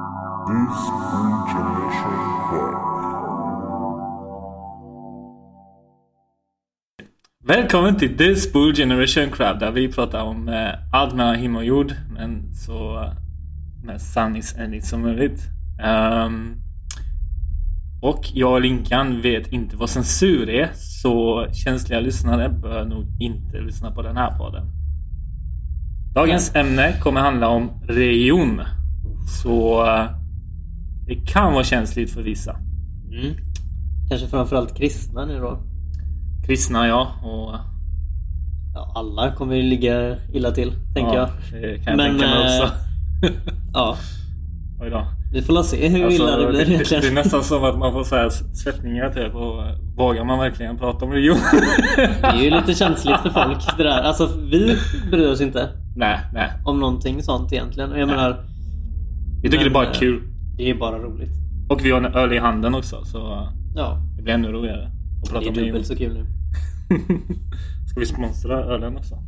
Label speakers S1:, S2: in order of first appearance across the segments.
S1: This international crime.
S2: Välkommen till The Spool Generation Crab där vi pratar om eh, allt mellan himmel och jord men så eh, med sanningsenligt som möjligt. Ehm, och jag och Linkan vet inte vad censur är så känsliga lyssnare bör nog inte lyssna på den här podden. Dagens ämne kommer handla om religion. Så eh, det kan vara känsligt för vissa.
S3: Mm. Kanske framförallt kristna nu då.
S2: Kristna ja och...
S3: Ja, alla kommer ju ligga illa till, tänker
S2: ja,
S3: jag.
S2: Det kan jag
S3: Men,
S2: tänka mig
S3: eh,
S2: också.
S3: Ja,
S2: Oj då.
S3: vi får la se hur
S2: Alltså,
S3: illa det blir
S2: det, det,
S3: egentligen.
S2: det är nästan som att man får så här svettningar typ. Och eh, vågar man verkligen prata om religion?
S3: Det är ju lite känsligt för folk det där. Alltså vi bryr oss inte
S2: nej, nej.
S3: om någonting sånt egentligen. Och Jag
S2: Nej.
S3: menar,
S2: Vi tycker
S3: Men,
S2: det är bara
S3: eh,
S2: kul.
S3: det är bara roligt.
S2: Och vi har en öl i handen också så eh,
S3: Ja,
S2: det blir ännu roligare. Att prata
S3: det
S2: om religion.
S3: är dubbelt så kul nu.
S2: Ska vi sponsra ölen också?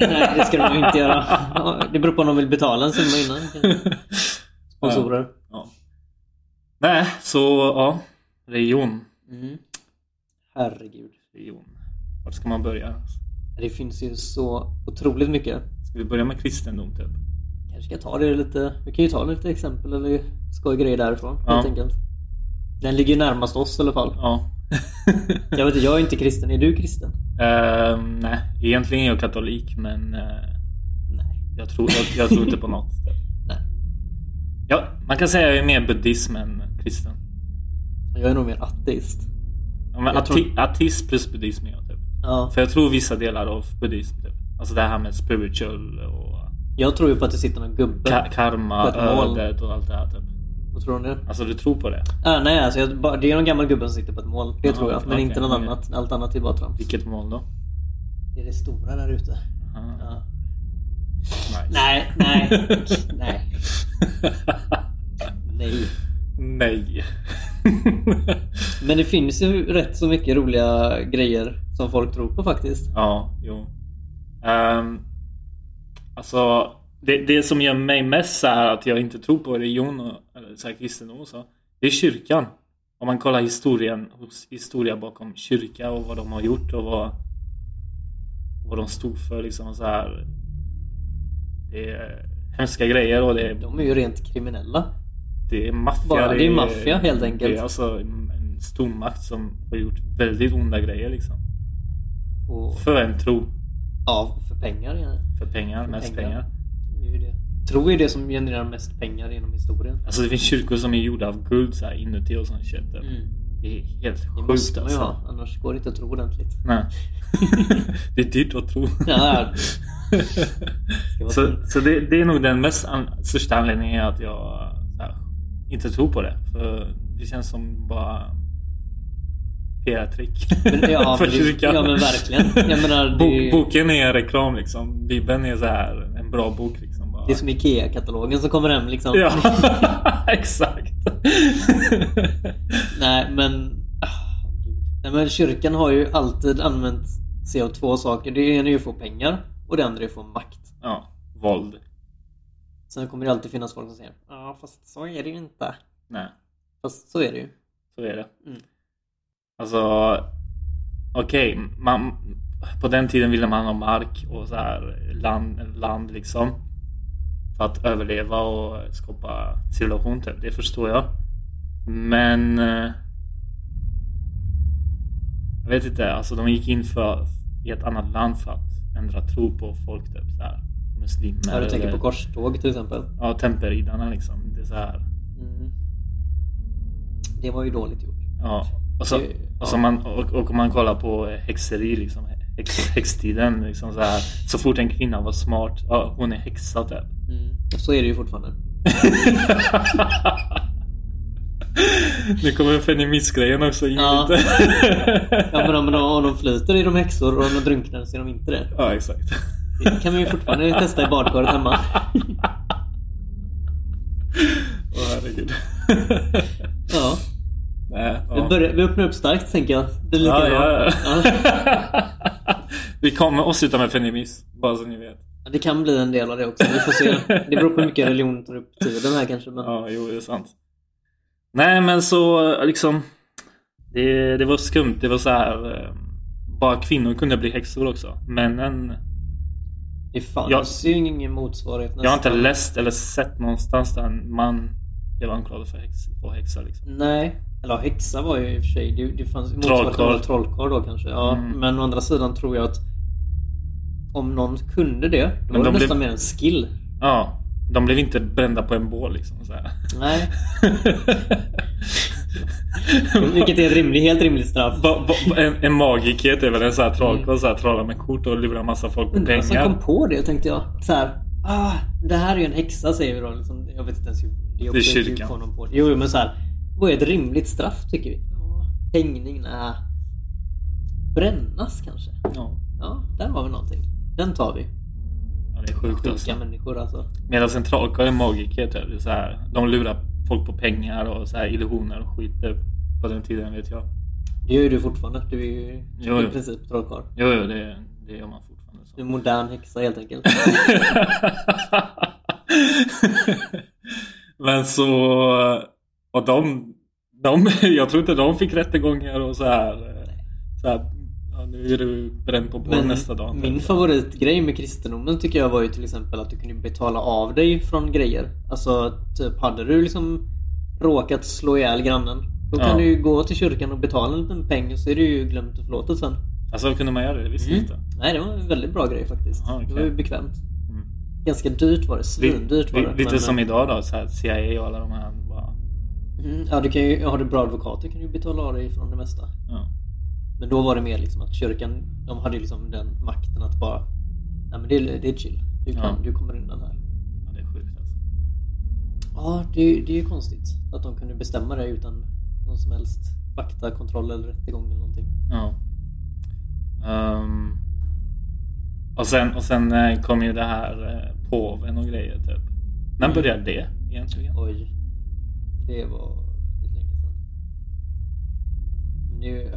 S3: Nej, det ska de ju inte göra. Ja, Det beror på om de vill betala en summa innan. Sponsorer.
S2: ja. Nej, så ja. Religion.
S3: Mm. Herregud.
S2: religion. Var ska man börja?
S3: Det finns ju så otroligt mycket.
S2: Ska vi börja med kristendom typ?
S3: kanske ska ta det lite. Vi kan ju ta lite exempel eller skojgrejer därifrån
S2: Ja.
S3: helt enkelt. Den ligger ju närmast oss i alla fall.
S2: Ja.
S3: Jag vet inte, jag är inte kristen. Är du kristen?
S2: Ehm, nej, egentligen är jag katolik men eh,
S3: Nej.
S2: Jag tror, jag, jag tror inte på något.
S3: Nej.
S2: Ja, man kan säga jag är mer buddhism än kristen.
S3: Jag är nog mer ateist.
S2: Ja, men
S3: Jag
S2: ati- Ateism plus buddhism är jag typ.
S3: Ja.
S2: För jag tror vissa delar av buddhism typ. Alltså det här med spiritual och
S3: Jag tror ju på att det sitter någon gubbe.
S2: ka- karma,
S3: På ett moln.
S2: ödet och allt det här typ.
S3: Vad tror du om det?
S2: Alltså du tror på det?
S3: Ah, nej, alltså jag, bara- det är någon gammal gubbe som sitter på ett mål. Det
S2: Jaha,
S3: tror jag. Men
S2: okej,
S3: inte något
S2: okej.
S3: annat. Allt annat är bara trams.
S2: Vilket mål då?
S3: Det är det stora där ute.
S2: Aha,
S3: Ja.
S2: nice.
S3: Nej, nej, nej, nej.
S2: Nej.
S3: Men det finns ju rätt så mycket roliga grejer som folk tror på faktiskt.
S2: Ja, jo. Um, alltså, det, det som gör mig mest så här att jag inte tror på religion och eller så här kristendom och så. Det är kyrkan. Om man kollar historien, hos- historia bakom kyrka och vad de har gjort och vad, vad de stod för liksom och så här. Det är hemska grejer och det är,
S3: De är ju rent kriminella.
S2: det är maffia.
S3: Bara, det är maffia, helt enkelt.
S2: Det är alltså en, en stormakt som har gjort väldigt onda grejer liksom.
S3: Och,
S2: För en tro.
S3: ja, för pengar. Ja.
S2: För pengar, mest
S3: pengar.
S2: pengar.
S3: Det är ju det. Tro är det som genererar mest pengar genom historien.
S2: Alltså det finns kyrkor som är gjorda av guld så här inuti och sånt shit. typ. Det är helt
S3: Mm. Det
S2: sjukt
S3: måste man ju
S2: alltså.
S3: ha, annars går det inte att tro ordentligt.
S2: Nej. det är dyrt att tro.
S3: Ja, vara
S2: så
S3: fint.
S2: så det, det är nog den mest an- största anledningen att jag så här, inte tror på det. För det känns som bara PR-trick
S3: Men, ja,
S2: för
S3: men det-
S2: kyrkan.
S3: ja, men verkligen. Jag menar, det är ju-
S2: Bok, boken är reklam liksom. Bibeln är så här en bra bok liksom. Bara.
S3: Det är som IKEA-katalogen som kommer hem liksom.
S2: Ja, exakt.
S3: Nej, men... ah, gud. Nej, men kyrkan har ju alltid använt sig av två saker. Det ena är ju att få pengar och det andra är att få makt.
S2: ja, våld.
S3: Sen kommer det alltid finnas folk som säger Ja, fast så är det ju inte.
S2: Nej.
S3: Fast så är det ju.
S2: Så är det.
S3: Mm.
S2: Alltså, okej, man- på den tiden ville man ha mark och så här land, land liksom. För att överleva och skapa civilisation typ. Det förstår jag. Men... eh, Jag vet inte, alltså de gick in för, i ett annat land för att ändra tro på folk typ så här. Muslimer.
S3: Ja, du tänker
S2: eller-
S3: på korståg till exempel.
S2: Ja, temperriddarna liksom. Det är så här.
S3: Mm. Det var ju dåligt gjort.
S2: Ja. Och, så,
S3: Det-
S2: och, så
S3: ja.
S2: man, och, och om man kollar på häxeri, liksom, häx, häxtiden. Liksom så, här, så fort en kvinna var smart, ja, hon är häxa typ.
S3: Mm. Så är det ju fortfarande.
S2: nu kommer feministgrejen också in
S3: Ja.
S2: lite.
S3: Ja, men om, om de flyter är de häxor och om de drunknar så är de inte det.
S2: ja, exakt.
S3: Det kan man ju fortfarande testa i badkaret hemma.
S2: Åh herregud.
S3: Ja,
S2: Nej, ja.
S3: vi, börjar, vi öppnar upp starkt tänker jag. Det är
S2: ja,
S3: lika bra.
S2: ja,
S3: Ja.
S2: ja. Vi kommer avsluta med feminism, bara så ni vet.
S3: Ja, Det kan bli en del av det också. Vi får se. Det beror på hur mycket religion tar upp tiden här kanske. Men...
S2: Ja, jo, det är sant. Nej, men så eh, liksom. Det, det var skumt. Det var så här. eh, Bara kvinnor kunde bli häxor också. Männen.
S3: Det fanns
S2: Jag-
S3: ju ingen motsvarighet
S2: Jag har inte
S3: nästan.
S2: läst eller sett någonstans där en man blev anklagad för häxa. För häxa liksom.
S3: Nej. Eller ja, häxa var ju i och för sig... Det, det fanns
S2: Trollkarl.
S3: motsvarighet trollkarl då kanske. Ja,
S2: Mm.
S3: Men å andra sidan tror jag att om någon kunde det,
S2: Men
S3: då var det
S2: de blev-
S3: nästan mer en skill.
S2: Ja, de blev inte brända på en bål liksom. Så här.
S3: Nej. Vilket är ett rimligt, helt rimligt straff.
S2: Va, va, en, en magikhet över en sån här trollkarl. Så här trollar med kort och lurar massa folk på
S3: Undrar vem som alltså, kom
S2: pengar.
S3: på det tänkte jag. Så här, ah, det här är ju en häxa säger vi då. Liksom, jag vet inte ens hur är
S2: Det är
S3: också hur
S2: kyrkan.
S3: får någon på det. Jo, jo, men så här. Vad är ett rimligt straff tycker vi? Ja, Hängning? Nä. Brännas kanske?
S2: Ja,
S3: Ja, där har vi någonting. Den tar vi.
S2: Ja, det är sjukt
S3: Sjuka
S2: alltså.
S3: människor alltså.
S2: Medan en trollkarl är magiker. Typ. Det är så här, de lurar folk på pengar och så här illusioner och skit. Typ. På den tiden vet jag.
S3: Det gör ju du fortfarande. Du är ju
S2: Jo,
S3: i
S2: jo.
S3: princip trollkarl.
S2: Jo, jo det, det gör man fortfarande.
S3: Du är
S2: Så.
S3: en modern häxa helt enkelt.
S2: Men så... Och de, de... Jag tror inte de fick rättegångar och så här. eh, Så här ja, nu är du bränd på bål
S3: Men
S2: nästa dag. typ.
S3: min favoritgrej med kristendomen tycker jag var ju till exempel att du kunde betala av dig från grejer. Alltså typ hade du liksom råkat slå ihjäl grannen. Då kan
S2: Ja.
S3: du ju gå till kyrkan och betala en liten peng och så är det ju glömt och förlåtet sen.
S2: Alltså kunde man göra det? Det visste
S3: Mm,
S2: jag inte.
S3: Nej det var en väldigt bra grej faktiskt.
S2: Aha,
S3: Det
S2: okej.
S3: var ju bekvämt.
S2: Mm.
S3: Ganska dyrt var det. Svindyrt var det.
S2: Lite
S3: Men,
S2: som idag då. Så här, CIA och alla de här. Bara,
S3: mm, Ja du kan ju, har du bra advokater kan du ju betala av dig från det mesta.
S2: ja.
S3: Men då var det mer liksom att kyrkan, de hade ju liksom den makten att bara Nej men det, är- det är chill. Du, kan,
S2: Ja.
S3: du kommer undan här.
S2: ja, det är sjukt alltså.
S3: Ja, det, det är ju konstigt att de kunde bestämma det utan någon som helst faktakontroll eller rättegång eller någonting.
S2: Ja. Ehm, och sen, och sen eh, kom ju det här eh, påven och grejer typ. När
S3: Mm.
S2: började det egentligen?
S3: Oj, det var lite länge sedan. Men det är ju,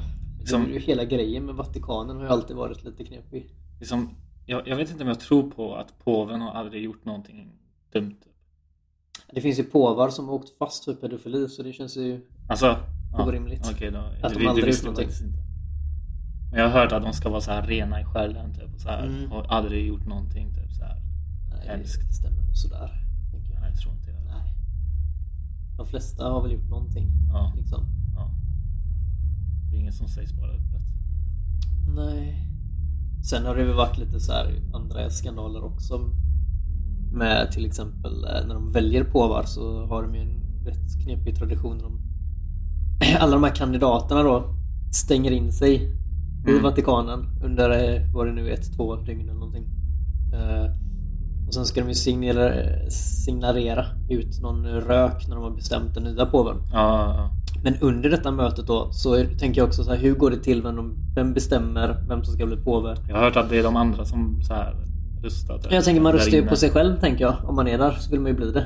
S2: Som-
S3: det är ju hela grejen med Vatikanen har ju alltid varit lite knepig.
S2: Liksom, jag, jag vet inte om jag tror på att påven har aldrig gjort någonting dumt.
S3: Det finns ju påvar som har åkt fast för pedofili så det känns ju...
S2: Alltså, ja,
S3: Orimligt.
S2: Okej då.
S3: Att de
S2: det, det
S3: aldrig
S2: visste
S3: gjort
S2: jag
S3: någonting.
S2: faktiskt inte. Men jag har hört att de ska vara så här rena i själen typ. Och, så här,
S3: Mm.
S2: och aldrig gjort någonting typ så här.
S3: Nej, det,
S2: Hemskt.
S3: det stämmer nog sådär. tänker jag.
S2: Nej, jag tror inte det.
S3: Nej. De flesta har väl gjort någonting.
S2: Ja,
S3: Liksom.
S2: ja. Det är ingen som sägs bara öppet.
S3: Nej. Sen har det väl varit lite så här andra skandaler också. Med till exempel eh, när de väljer påvar så har de ju en rätt knepig tradition. när De, alla de här kandidaterna då stänger in sig i
S2: Mm.
S3: Vatikanen under eh, vad det nu är, ett, två dygn eller någonting. Eh, Och sen ska de ju signera, signalera ut någon rök när de har bestämt den nya påven.
S2: Ja, ja,
S3: Men under detta mötet då så är, tänker jag också så här, hur går det till? Vem, de, vem bestämmer vem som ska bli påve?
S2: Jag har hört att det är de andra som så här röstar. typ.
S3: Jag tänker man
S2: Där
S3: röstar ju
S2: inne.
S3: på sig själv tänker jag. Om man är där så vill man ju bli det.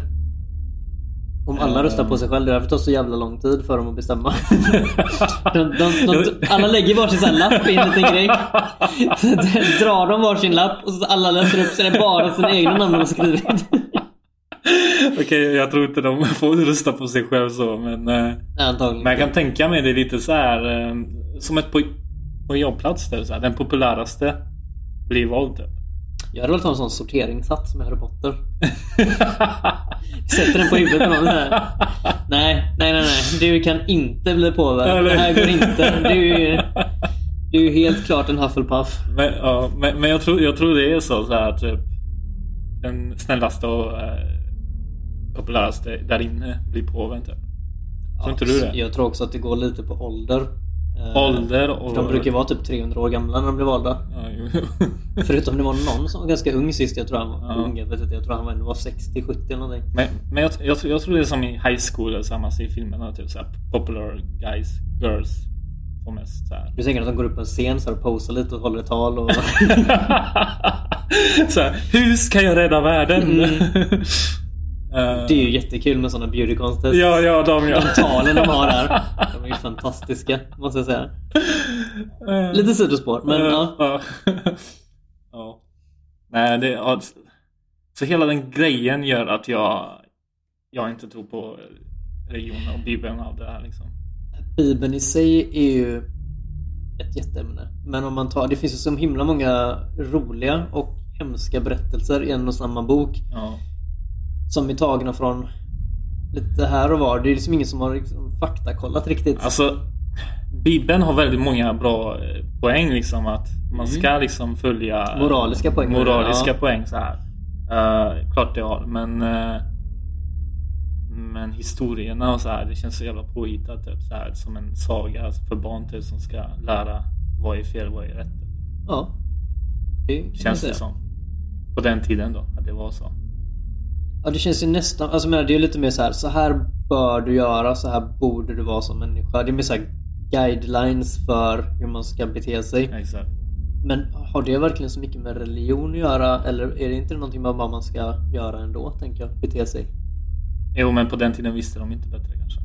S3: Om alla
S2: Eh.
S3: röstar på sig själv, det är därför det tar så jävla lång tid för dem att bestämma. De, de, de, alla lägger varsin sån här lapp i en liten grej. Så drar de varsin lapp och så alla läser upp så det är bara sina egna namn de har skrivit.
S2: Okej, jag tror inte de får rösta på sig själv så men, eh, men jag
S3: Antagligen.
S2: kan tänka mig det lite så här eh, som ett på, på jobbplats där, så här, den populäraste blir vald typ.
S3: Jag hade velat ha en sån sorteringshatt som i Harry Potter. Sätter den på huvudet på någon så här. Nej, nej, nej, nej. Du kan inte bli påverkad.
S2: Eller-
S3: Det här går inte. Du, du är helt klart en Hufflepuff.
S2: men, ja, men, men jag, tror, jag tror det är så, så här typ den snällaste och eh, populäraste där inne blir påven typ. Tror inte du det?
S3: Jag tror också att det går lite på ålder. Eh,
S2: Ålder
S3: för
S2: och...
S3: De brukar ju vara typ 300 år gamla när de blir valda.
S2: Ja, jo.
S3: Förutom det var någon som var ganska ung sist. Jag tror han var
S2: Ja.
S3: ung. Jag, vet inte, jag tror han var, ändå var 60-70 eller någonting.
S2: Men, men jag, jag, jag tror det är som i high school, eller så här, man ser i filmerna, typ så här, popular guys, girls får mest så här.
S3: Du tänker att de går upp på en scen så här, och posar lite och håller ett tal. Och...
S2: så här, hur ska jag rädda världen?
S3: Mm.
S2: Eh,
S3: Det är ju jättekul med sådana beauty contests.
S2: ja, ja, de ja.
S3: De talen de har där. De är ju fantastiska, måste jag säga.
S2: Eh,
S3: Lite sidospår, men
S2: eh,
S3: ja.
S2: ja. Ja. Nej, det, ja, s- så hela den grejen gör att jag, jag inte tror på religionen och bibeln av det här liksom.
S3: Bibeln i sig är ju ett jätteämne. Men om man tar, det finns ju så himla många roliga och hemska berättelser i en och samma bok
S2: Ja,
S3: som är tagna från lite här och var. Det är liksom ingen som har liksom faktakollat riktigt.
S2: alltså Bibeln har väldigt många bra eh, poäng liksom att man
S3: Mm.
S2: ska liksom följa eh,
S3: Moraliska poäng,
S2: moraliska
S3: ja.
S2: poäng så här. Eh, klart det har men eh, men historierna och så här det känns så jävla påhittat typ så här som en saga för barn typ, som ska lära vad är fel vad är rätt.
S3: ja. Det kan man
S2: Känns
S3: säga.
S2: det som. På den tiden då, att det var så.
S3: Ja, det känns ju nästan... Alltså jag menar, det är ju lite mer så här. Så här bör du göra, så här borde du vara som människa. Det är mer så här guidelines för hur man ska bete sig.
S2: Exakt.
S3: Men har det verkligen så mycket med religion att göra? Eller är det inte någonting med vad man ska göra ändå, tänker jag, bete sig?
S2: Jo, men på den tiden visste de inte bättre kanske.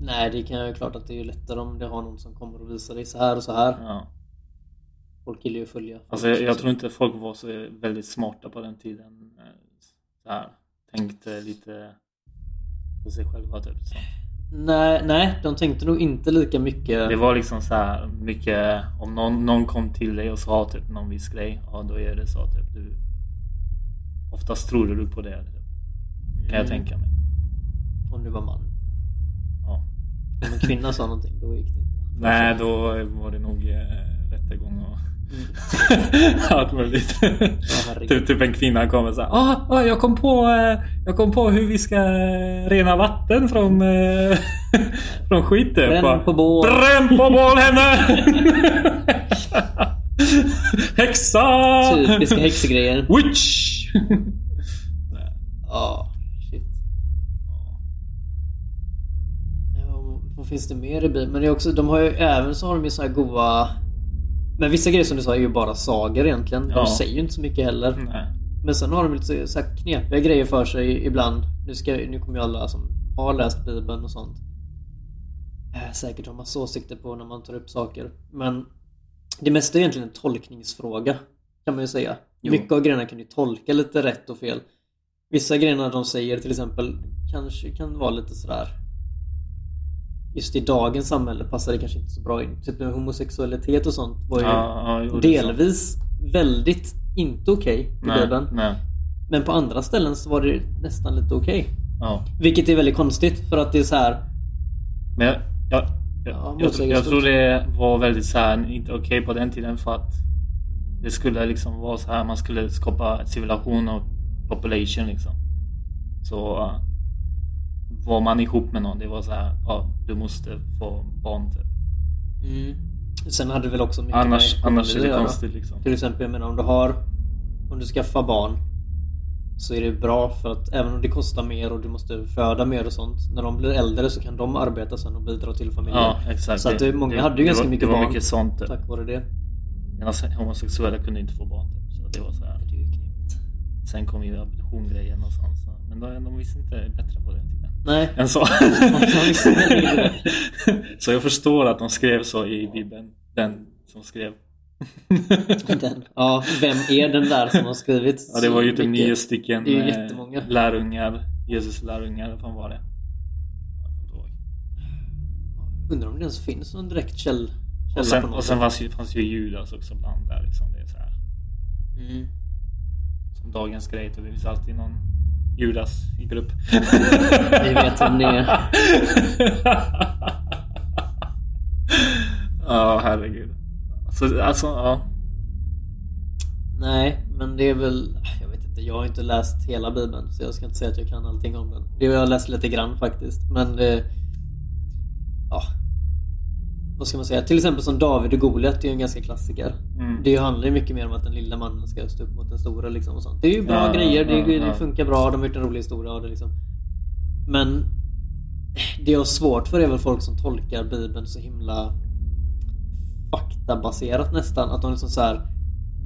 S3: Nej, det kan jag ju klart att det är ju lättare om det har någon som kommer och visar dig så här och så här.
S2: Ja.
S3: Folk gillar ju att följa.
S2: Alltså, jag, jag tror inte folk var så väldigt smarta på den tiden. eh, Så här. Tänkte lite på sig själva typ. Så.
S3: Nej, nej, de tänkte nog inte lika mycket.
S2: Det var liksom så här mycket, om någon, någon kom till dig och sa typ någon viss grej, ja då är det så typ. Du, oftast trodde du på det. Typ. Kan jag
S3: Mm.
S2: tänka mig.
S3: Om du var man.
S2: Ja.
S3: Om en kvinna sa någonting, då gick det inte.
S2: Nej, då var det nog eh, rättegång och
S3: Mm.
S2: allt möjligt.
S3: herregud.
S2: typ, typ en kvinna kommer så här. Ah, ah, jag, kom på, eh, jag kom på hur vi ska eh, rena vatten från, eh, från skit. typ."
S3: Bränn
S2: Bara,
S3: på bål.
S2: Bränn på bål henne! Häxa!
S3: Typiska häxgrejer.
S2: Witch!
S3: Ja, shit. Ja, vad finns det mer i Bibeln? Men det är också, de har ju även så har de ju så här goa... Men vissa grejer som du sa är ju bara sagor egentligen. De
S2: Ja. Mm.
S3: säger ju inte så mycket heller.
S2: Nej.
S3: Men sen har de lite så här knepiga grejer för sig ibland. Nu, ska, nu kommer ju alla som har läst Bibeln och sånt eh, säkert ha massa åsikter på när man tar upp saker. Men det mesta är egentligen en tolkningsfråga kan man ju säga.
S2: Jo.
S3: Mycket av grejerna kan du tolka lite rätt och fel. Vissa grejerna de säger till exempel kanske kan vara lite sådär Just i dagens samhälle passar det kanske inte så bra in. Typ med homosexualitet och sånt var ju
S2: Ja, ja, jo, det är sant.
S3: delvis väldigt inte okej i
S2: Nej,
S3: Bibeln.
S2: nej.
S3: Men på andra ställen så var det nästan lite okej.
S2: Ja.
S3: Vilket är väldigt konstigt för att det är så här.
S2: Men jag, jag,
S3: Ja,
S2: jag, jag, tror- jag
S3: motsägelsefullt.
S2: tror det var väldigt så här, inte okej på den tiden för att det skulle liksom vara så här, man skulle skapa civilisation och population liksom. Så eh, var man ihop med någon, det var så här, ja, du måste få barn typ.
S3: Sen hade det väl också mycket
S2: Mm. Annars,
S3: med
S2: annars är
S3: ekonomi
S2: det
S3: att göra.
S2: konstigt liksom.
S3: Till exempel, jag menar om du har Om du skaffar barn Så är det bra för att även om det kostar mer och du måste föda mer och sånt När de blir äldre så kan de arbeta sen och bidra till familjen
S2: Ja, exakt.
S3: Så att det, många hade ju
S2: det
S3: ganska
S2: var,
S3: mycket
S2: det var
S3: barn
S2: mycket sånt typ.
S3: Tack vare det
S2: Medan homosexuella kunde inte få barn typ. Så det var så här.
S3: Det är ju knepigt
S2: Sen kom ju abditiongrejen och sånt. Så. Men de, de visste inte bättre på den tiden.
S3: Nej
S2: än så.
S3: visste inte det.
S2: så jag förstår att de skrev så i Bibeln. Den som skrev.
S3: den. Ja, vem är den där som har skrivit
S2: Ja, det var ju
S3: så
S2: typ
S3: mycket?
S2: nio stycken
S3: Det är ju
S2: eh,
S3: jättemånga.
S2: lärungar. Jesus lärungar, vad fan var det? Jag kommer inte ihåg.
S3: Undrar om det ens finns någon direkt käll, källa
S2: Och sen,
S3: på något
S2: och sen
S3: sätt.
S2: fanns, ju, fanns ju Judas också bland där. Liksom. Det är så här,
S3: Mm.
S2: som dagens grej, typ. det finns alltid någon Judas i grupp.
S3: Vi vet vem det är.
S2: Ja, herregud. Så, alltså, ja.
S3: Nej, men det är väl... Jag vet inte, jag har inte läst hela Bibeln så jag ska inte säga att jag kan allting om den. Det har jag läst lite grann faktiskt, men... Det, ja. Vad ska man säga? Till exempel som David och Goliat, det är ju en ganska klassiker.
S2: Mm.
S3: Det handlar ju mycket mer om att den lilla mannen ska stå upp mot den stora liksom och sånt. Det är ju bra
S2: Ja,
S3: grejer, det,
S2: ja, ja.
S3: det funkar bra, de har gjort en rolig historia av det liksom. Men det jag har svårt för är väl folk som tolkar Bibeln så himla faktabaserat nästan. Att de liksom så här,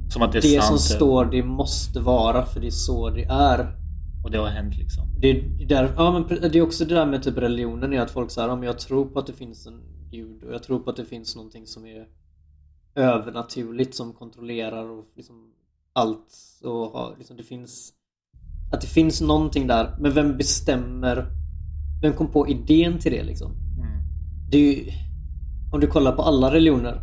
S2: Som att det är
S3: det som
S2: sant. typ.
S3: står det måste vara för det är så det är.
S2: Och det har hänt liksom.
S3: Det är, där, ja, men pre- det är också det där med typ religionen är att folk säger om jag tror på att det finns en gud och jag tror på att det finns någonting som är övernaturligt som kontrollerar och liksom allt och har, liksom, det finns att det finns någonting där. Men vem bestämmer? Vem kom på idén till det liksom?
S2: Mm.
S3: det är ju, om du kollar på alla religioner,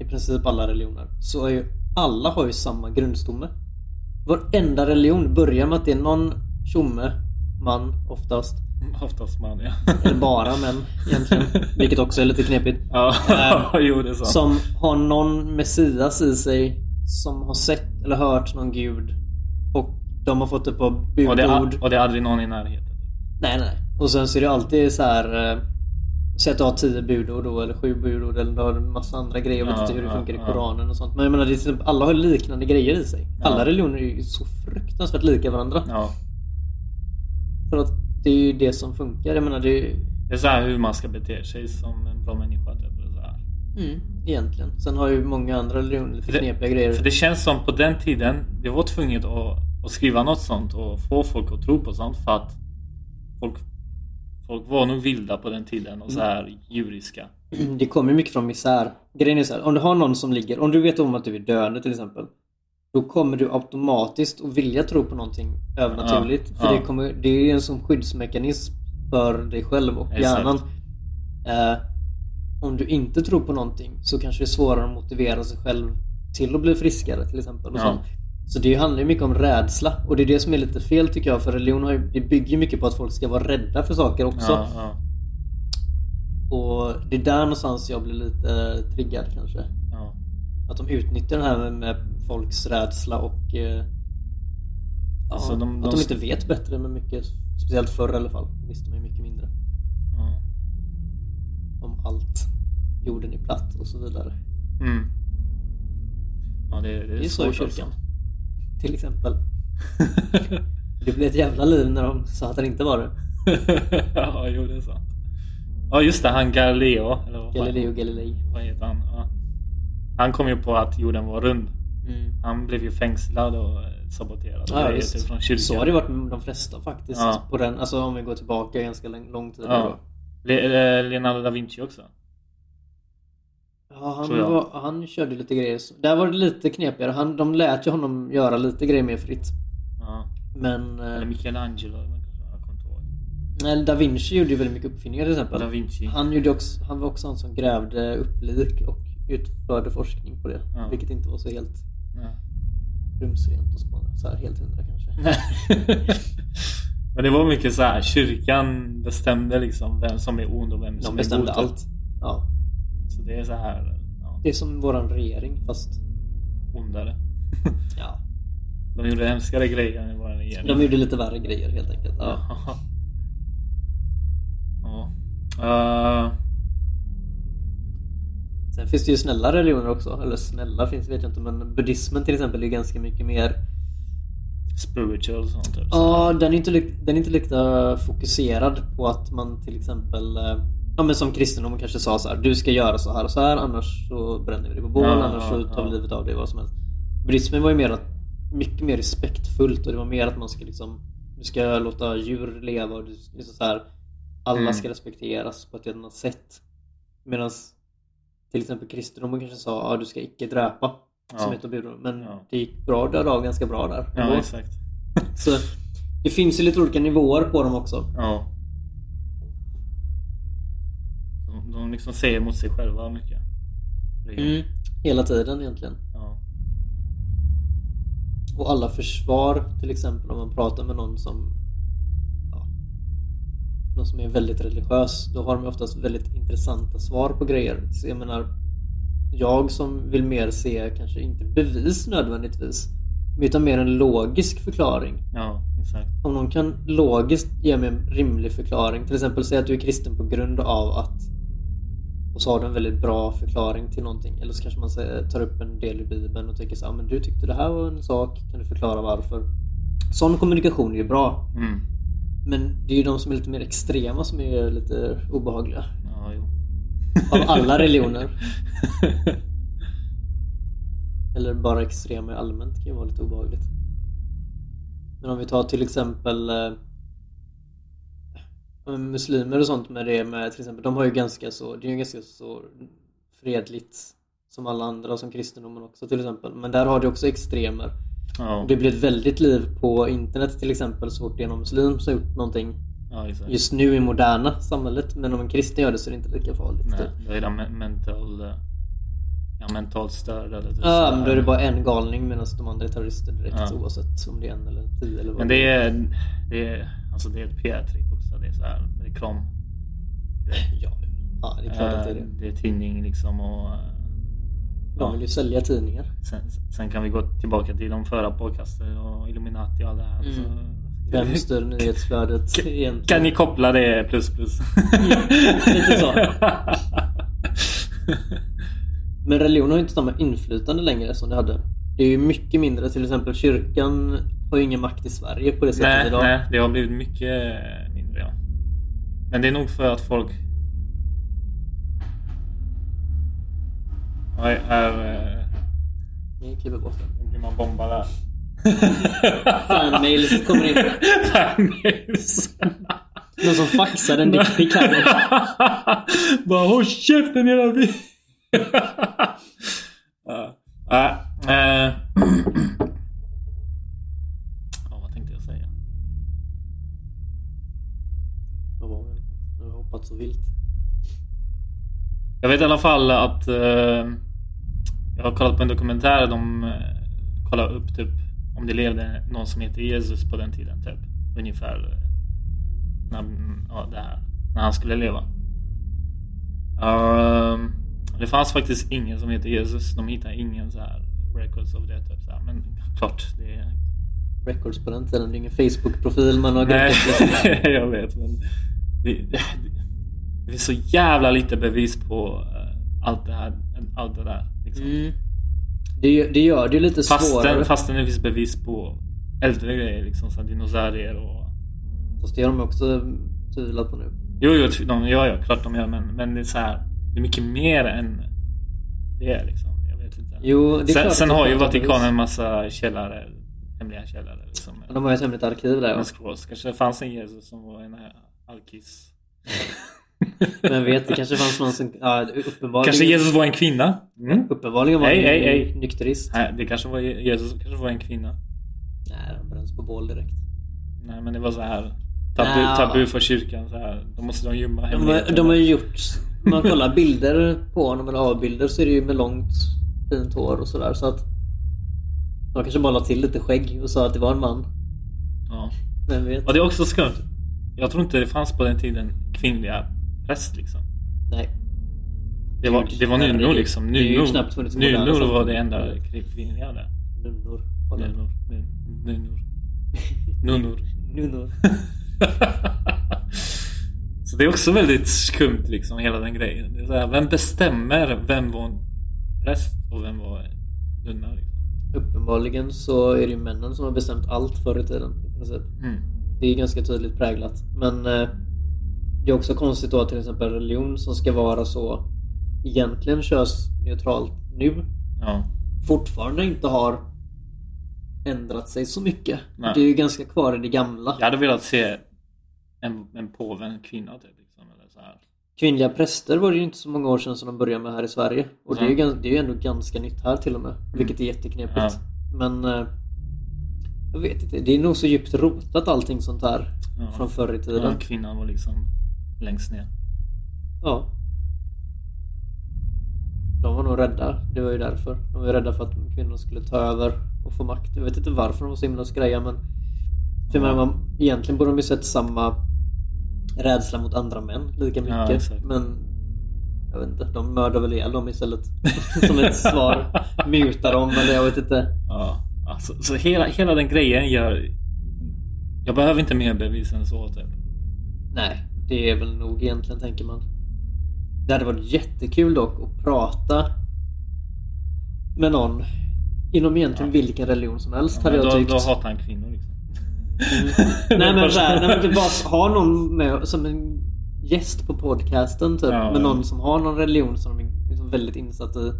S3: i princip alla religioner, så är ju alla har ju samma grundstomme. Varenda religion börjar med att det är någon tjomme, man oftast,
S2: Oftast man ja.
S3: eller bara män egentligen, vilket också är lite knepigt.
S2: ja, jo det är sant.
S3: Som har någon Messias i sig som har sett eller hört någon gud och de har fått ett par
S2: och, det
S3: budord.
S2: är, och det är aldrig någon i närheten.
S3: Nej, nej. Och sen så är det alltid så här eh, Säg att du har tio budord då, eller sju budord eller du har en massa andra grejer. Jag vet
S2: Ja,
S3: inte hur det
S2: ja,
S3: funkar i
S2: ja.
S3: Koranen och sånt. Men jag menar, det är typ, alla har liknande grejer i sig.
S2: Ja.
S3: Alla religioner är ju så fruktansvärt lika varandra.
S2: Ja.
S3: För att det är ju det som funkar. Jag menar, det är ju...
S2: Det är så här hur man ska bete sig som en bra människa. Typ, eller så här.
S3: Mm, egentligen. Sen har ju många andra religioner lite
S2: Det-
S3: knepiga grejer.
S2: För det känns som på den tiden, det var tvunget att, att skriva något sånt och få folk att tro på sånt för att folk, folk var nog vilda på den tiden och så
S3: Mm.
S2: här djuriska.
S3: Det kommer mycket från misär. Grejen är så här, om du har någon som ligger, om du vet om att du är döende till exempel. Då kommer du automatiskt att vilja tro på någonting övernaturligt.
S2: Ja,
S3: för
S2: ja.
S3: Det, kommer, det är ju en sån skyddsmekanism för dig själv och
S2: Exakt.
S3: hjärnan. Eh, om du inte tror på någonting så kanske det är svårare att motivera sig själv till att bli friskare till exempel. Och
S2: Ja.
S3: sånt. Så det handlar ju mycket om rädsla och det är det som är lite fel tycker jag. För religion har ju, det bygger ju mycket på att folk ska vara rädda för saker också.
S2: Ja, ja,
S3: Och det är där någonstans jag blir lite eh, triggad kanske.
S2: ja.
S3: Att de utnyttjar det här med, med folks rädsla och eh, ja,
S2: Alltså de-
S3: att
S2: de-
S3: de inte vet bättre med mycket. Speciellt förr i alla fall. Då visste man ju mycket mindre
S2: ja.
S3: om allt. Jorden är platt och så vidare.
S2: Mm. Ja, det, det är,
S3: Det är ju så i
S2: svårt
S3: kyrkan.
S2: alltså.
S3: Till exempel. Det blev ett jävla liv när de sa att den inte var det.
S2: ja, jo det är sant. Ja, just det. Han Galileo. Eller vad, fan-
S3: Galileo Galilei.
S2: vad heter han? Ja. Han kom ju på att jorden var rund. Han blev ju fängslad och eh, saboterad. och
S3: Ja,
S2: grejer,
S3: visst.
S2: typ, från kyrkan.
S3: Så har det varit med de flesta faktiskt.
S2: Ja.
S3: På den, alltså om vi går tillbaka ganska lång, lång tid.
S2: Ja.
S3: Ja.
S2: Le- eh, Leonardo da Vinci också.
S3: Ja,
S2: Tror
S3: han,
S2: jag.
S3: var, han körde lite grejer. som- Där var det lite knepigare. Han, de lät ju honom göra lite grejer mer fritt.
S2: Ja.
S3: Men... eh,
S2: Eller Michelangelo. man kanske- Jag kommer inte ihåg.
S3: Nej, da Vinci gjorde ju väldigt mycket uppfinningar till
S2: Da
S3: exempel.
S2: Vinci.
S3: Han, gjorde också, han var också han som grävde upp lik och utförde forskning på det.
S2: Ja.
S3: Vilket inte var så helt
S2: Ja.
S3: rumsrent och så, så här helt hundra kanske.
S2: Nej. Men det var mycket så här. Kyrkan bestämde liksom vem som är ond och vem som är god. typ.
S3: De bestämde allt. Ja,
S2: Så det är så här. Ja,
S3: det är som våran regering fast...
S2: ondare.
S3: Ja.
S2: De gjorde hemskare grejer än vad den regering.
S3: De gjorde lite värre grejer helt enkelt. Ja.
S2: Mm. Ja. Ja. Eh,
S3: Sen finns det ju snälla religioner också. Eller snälla finns vet jag inte men buddhismen till exempel är ju ganska mycket mer
S2: spiritual och sånt. Typ.
S3: Ja, den är inte, lik- den är inte lika fokuserad på att man till exempel eh, Ja men som kristendomen kanske sa så här, du ska göra så här och så här annars så bränner vi dig på bål,
S2: Ja,
S3: annars så
S2: ja,
S3: tar vi
S2: ja.
S3: livet av dig, vad som helst. Buddhismen var ju mer att, mycket mer respektfullt och det var mer att man ska liksom Du ska låta djur leva och du, liksom så här, alla
S2: Mm.
S3: ska respekteras på ett annat sätt. Medan till exempel kristendomen kanske sa att du ska icke dräpa. Som
S2: Ja.
S3: ett av budorden. Men
S2: Ja.
S3: det gick bra att döda av ganska bra där.
S2: ja,
S3: ändå.
S2: exakt.
S3: Så det finns ju lite olika nivåer på dem också.
S2: Ja. De, de liksom säger mot sig själva mycket.
S3: Mm.
S2: Mm.
S3: Hela tiden egentligen.
S2: Ja.
S3: Och alla försvar till exempel om man pratar med någon som ja, någon som är väldigt religiös. Då har de oftast väldigt intressanta svar på grejer. Så jag menar, jag som vill mer se kanske inte bevis nödvändigtvis utan mer en logisk förklaring.
S2: ja, exakt.
S3: Om någon kan logiskt ge mig en rimlig förklaring. Till exempel säga att du är kristen på grund av att... Och så har du en väldigt bra förklaring till någonting. Eller så kanske man säger- tar upp en del i Bibeln och tänker så här, "Ah, men du tyckte det här var en sak. Kan du förklara varför? Sån kommunikation är ju bra.
S2: Mm.
S3: Men det är ju de som är lite mer extrema som är lite obehagliga.
S2: Ja, jo.
S3: Av alla religioner. Eller bara extrema allmänt kan ju vara lite obehagligt. Men om vi tar till exempel eh, ja, men muslimer och sånt med det med till exempel, de har ju ganska så, det är ju ganska så fredligt Som alla andra, som kristendomen också till exempel. Men där har du också extremer.
S2: Ja,
S3: Det blir ett väldigt liv på internet till exempel så fort det är någon muslim som har gjort någonting
S2: ja exakt.
S3: just nu i moderna samhället. Men om en kristen gör det så är det inte lika farligt.
S2: Nej,
S3: typ.
S2: då är det men- mental... eh, Ja, mentalt störd eller typ
S3: Ja,
S2: sådär.
S3: men då är det bara en galning medan de andra är terrorister direkt
S2: Ja.
S3: oavsett om det är en eller tio eller vad
S2: Men det är, det är, alltså det är ett PR-trick också. Det är så här reklam.
S3: Ja, ja det är klart att det är
S2: Eh,
S3: det.
S2: det är tidning liksom och... eh,
S3: De vill ju sälja tidningar.
S2: Sen, sen kan vi gå tillbaka till de förra podcasten och Illuminati och allt det här.
S3: Mm.
S2: Så,
S3: Vem styr nyhetsflödet
S2: Kan-
S3: egentligen? Mm,
S2: Kan ni koppla det plus plus?
S3: lite så. Men religion har ju inte samma inflytande längre som det hade. Det är ju mycket mindre. Till exempel kyrkan har ju ingen makt i Sverige på det sättet
S2: nej,
S3: idag.
S2: nej, det har blivit mycket mindre. Ja. Men det är nog för att folk... Oj, här... eh,
S3: Vi klipper bort den.
S2: Nu blir man bombad där.
S3: Fanmails kommer in.
S2: Fanmails.
S3: Någon som faxar en dickpic här.
S2: Bara håll käften hela vi. ja. Ja, eh. ja, vad tänkte jag säga?
S3: Vad var det? Nu har jag hoppat så vilt.
S2: Jag vet i alla fall att eh, jag har kollat på en dokumentär. De eh, kollar upp typ om det levde någon som heter Jesus på den tiden. Typ. Ungefär eh, när, ja, det här, när han skulle leva. Ehm, det fanns faktiskt ingen som heter Jesus. De hittade ingen så här records av det. Typ, så här. Men klart, det är
S3: Records på den tiden. Det är ingen Facebook-profil man har
S2: Nej,
S3: gått efter.
S2: jag vet. Men det, det, det finns så jävla lite bevis på eh, allt det här. Allt det där liksom.
S3: Mm. Det, gör- det gör det ju lite svårare.
S2: fastän, fastän det finns bevis på äldre grejer. Liksom, så här dinosaurier och...
S3: Fast det har de också tvivlat på nu.
S2: Jo, jo tv- de gör ja, klart de gör. Men, men det, är så här, det är mycket mer än det. är, Liksom. Jag vet inte.
S3: Jo, det är
S2: sen
S3: klart
S2: sen
S3: att det
S2: har ju
S3: är klart att det
S2: Vatikanen
S3: finns.
S2: en massa källare. Hemliga källare. Liksom.
S3: De har ju ett hemligt arkiv där ja.
S2: Men scrolls. Kanske det fanns en Jesus som var en eh, alkis.
S3: Men vet, det kanske fanns någon som... Ja, uppenbarligen,
S2: Kanske Jesus var en kvinna? Mm.
S3: uppenbarligen var
S2: Hej,
S3: en
S2: hej, hej.
S3: nykterist.
S2: Nej, det kanske var Jesus kanske var en kvinna.
S3: Nej, de bränns på bål direkt.
S2: Nej, men det var så här tabu,
S3: Ja.
S2: tabu för kyrkan. Så här. Då måste de gömma
S3: De, har-
S2: hemligheten.
S3: de har ju gjort... Om man kollar bilder på honom eller avbilder så är det ju med långt fint hår och sådär så att... De kanske bara la till lite skägg och sa att det var en man.
S2: ja.
S3: Vem vet?
S2: Och det är också skumt. Jag tror inte det fanns på den tiden kvinnliga präst liksom.
S3: Nej.
S2: Det var, det var nunnor liksom.
S3: Det är ju
S2: Nunnor
S3: knappt funnits moderna
S2: nunnor var
S3: samfund.
S2: det enda kvinnliga där.
S3: Nunnor.
S2: Nunnor. Nun- Nunnor. Nunnor.
S3: Nunnor.
S2: så det är också väldigt skumt liksom, hela den grejen. Det är så här, vem bestämmer vem var en präst och vem var en nunna? Liksom?
S3: Uppenbarligen så är det ju männen som har bestämt allt förr i tiden. I princip.
S2: Mm.
S3: Det är ganska tydligt präglat. Men eh, det är också konstigt då att till exempel religion som ska vara så egentligen könsneutralt nu
S2: Ja.
S3: fortfarande inte har ändrat sig så mycket.
S2: Nej.
S3: Det är ju ganska kvar i det gamla.
S2: Jag hade velat se en, en påve, en kvinna typ. Liksom, eller så här.
S3: Kvinnliga präster var det ju inte så många år sedan som de började med här i Sverige. Och det, är ju, gans- det är ju ändå ganska nytt här till och med. Vilket är jätteknepigt.
S2: Mm. Ja.
S3: Men eh, jag vet inte. Det är nog så djupt rotat allting sånt här
S2: Ja.
S3: från förr i tiden.
S2: Ja, kvinnan var liksom längst ner.
S3: Ja. De var nog rädda. Det var ju därför. De var ju rädda för att kvinnor skulle ta över och få makt. Jag vet inte varför de var så himla skreja men... För
S2: Ja.
S3: ja. man, egentligen borde de ju sett samma rädsla mot andra män lika
S2: Ja,
S3: mycket.
S2: exakt.
S3: men... Jag vet inte. De mördar väl ihjäl dem istället. Som ett svar. Mutar dem eller jag vet inte.
S2: Ja. Alltså, så hela, hela den grejen gör... Jag behöver inte mer bevis än så typ.
S3: Nej, det är väl nog egentligen tänker man. Det hade varit jättekul dock att prata med någon inom egentligen vilken religion som helst hade
S2: men
S3: jag
S2: då,
S3: tyckt.
S2: då hatar han kvinnor liksom.
S3: Nej men såhär, nej, men typ bara ha någon med som en gäst på podcasten typ.
S2: Ja,
S3: med
S2: ja.
S3: någon som har någon religion som de är liksom väldigt insatt i.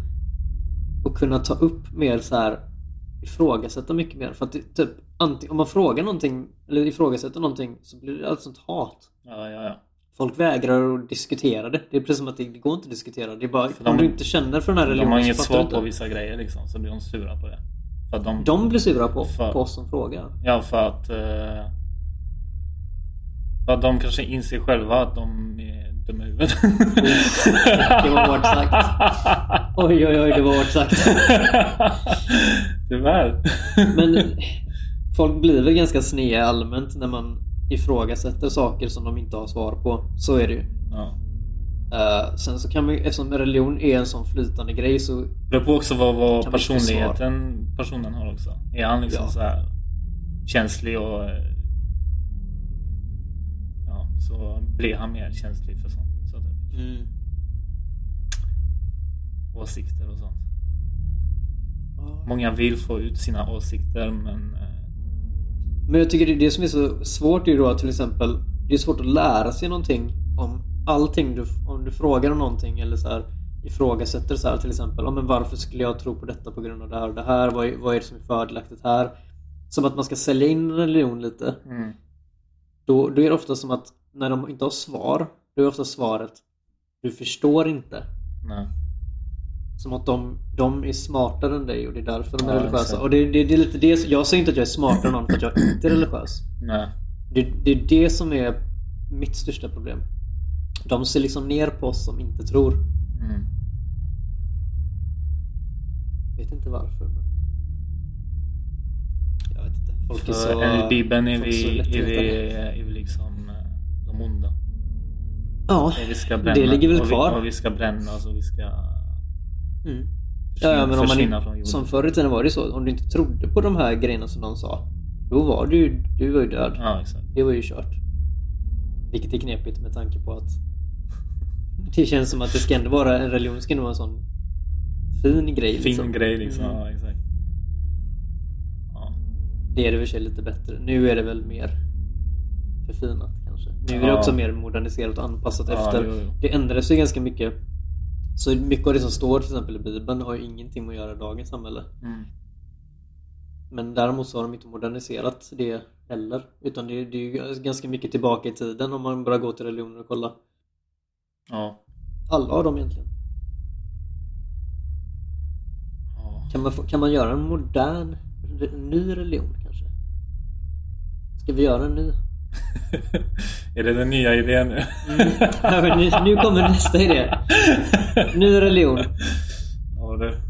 S3: Och kunna ta upp mer så här ifrågasätta mycket mer. För att det, typ, anting- om man frågar någonting eller ifrågasätter någonting så blir det allt sånt hat.
S2: Ja, ja, ja.
S3: Folk vägrar att diskutera det. Det är precis som att det, det går inte att diskutera. Det är bara,
S2: de-
S3: om du inte känner för den här
S2: De har
S3: religionen så
S2: inget
S3: fattar
S2: svar
S3: du
S2: på
S3: inte.
S2: vissa grejer liksom, så blir de sura på det. För att de,
S3: De blir sura på,
S2: För-
S3: på oss som frågar.
S2: Ja, för att... eh, För att de kanske inser själva att de är dumma i huvudet.
S3: Det var hårt sagt. Oj, oj, oj, det var hårt sagt.
S2: Tyvärr.
S3: Men folk blir väl ganska snea allmänt när man ifrågasätter saker som de inte har svar på. Så är det ju.
S2: Ja.
S3: Eh, sen så kan man ju, eftersom religion är en sån flytande grej så
S2: Det beror på också vad, vad
S3: Kan vi inte svara?
S2: personligheten personen har också. Är han liksom
S3: Ja.
S2: så här känslig och... eh, Ja, så blir han mer känslig för sånt. Så typ, åsikter och sånt.
S3: Ja.
S2: Många vill få ut sina åsikter men... eh,
S3: Men jag tycker det, är det som är så svårt är ju då att till exempel Det är svårt att lära sig någonting om allting du, Om du frågar om någonting eller så här Ifrågasätter så här till exempel ja, men Varför skulle jag tro på detta på grund av det här och det här? Vad är, vad är det som är fördelaktigt här? Som att man ska sälja in en religion lite
S2: Mm.
S3: då, då är det ofta som att när de inte har svar Då är ofta svaret Du förstår inte
S2: Nej.
S3: Som att de, de är smartare än dig och det är därför de är
S2: Ja,
S3: religiösa.
S2: exakt.
S3: Och det, det, det är lite det som- Jag säger inte att jag är smartare än någon för att jag inte är religiös.
S2: Nej.
S3: Det, det är det som är mitt största problem. De ser liksom ner på oss som inte tror.
S2: Mm.
S3: Jag vet inte varför. Men... Jag vet inte. Folk
S2: Så,
S3: är så...
S2: enligt Bibeln är
S3: folk så
S2: vi, är,
S3: lättretade.
S2: vi, är vi liksom eh, de onda.
S3: Ja.
S2: Vi ska bränna.
S3: Det ligger väl
S2: och
S3: kvar.
S2: Vi, och vi ska brännas och vi ska
S3: Mm. Ja,
S2: försvinna,
S3: ja, men om man,
S2: försvinna
S3: inte-
S2: från jorden.
S3: som förr i tiden var det ju så. Om du inte trodde på de här grejerna som de sa. Då var du, ju- du var ju död.
S2: Ja, exakt.
S3: Det var ju kört. Vilket är knepigt med tanke på att det känns som att det ska ändå vara, en religion ska ändå vara en sån fin grej.
S2: Fin
S3: liksom.
S2: grej liksom.
S3: Mm.
S2: Ja, exakt. Ja.
S3: Det är det i och för sig lite bättre. Nu är det väl mer förfinat kanske. Nu är det
S2: Ja.
S3: också mer moderniserat och anpassat
S2: Ja,
S3: efter.
S2: jo, jo.
S3: Det ändras ju ganska mycket. Så mycket av det som står till exempel i Bibeln har ju ingenting att göra i dagens samhälle.
S2: Mm.
S3: Men däremot så har de inte moderniserat det heller. Utan det, det är ju ganska mycket tillbaka i tiden om man bara går till religioner och kollar.
S2: Ja.
S3: Alla av dem egentligen.
S2: Ja.
S3: Kan man, få, kan man göra en modern, re- ny religion kanske? Ska vi göra en ny?
S2: är det den nya idén nu?
S3: Ja, men nu, nu kommer nästa idé. Ny religion.
S2: Ja, det...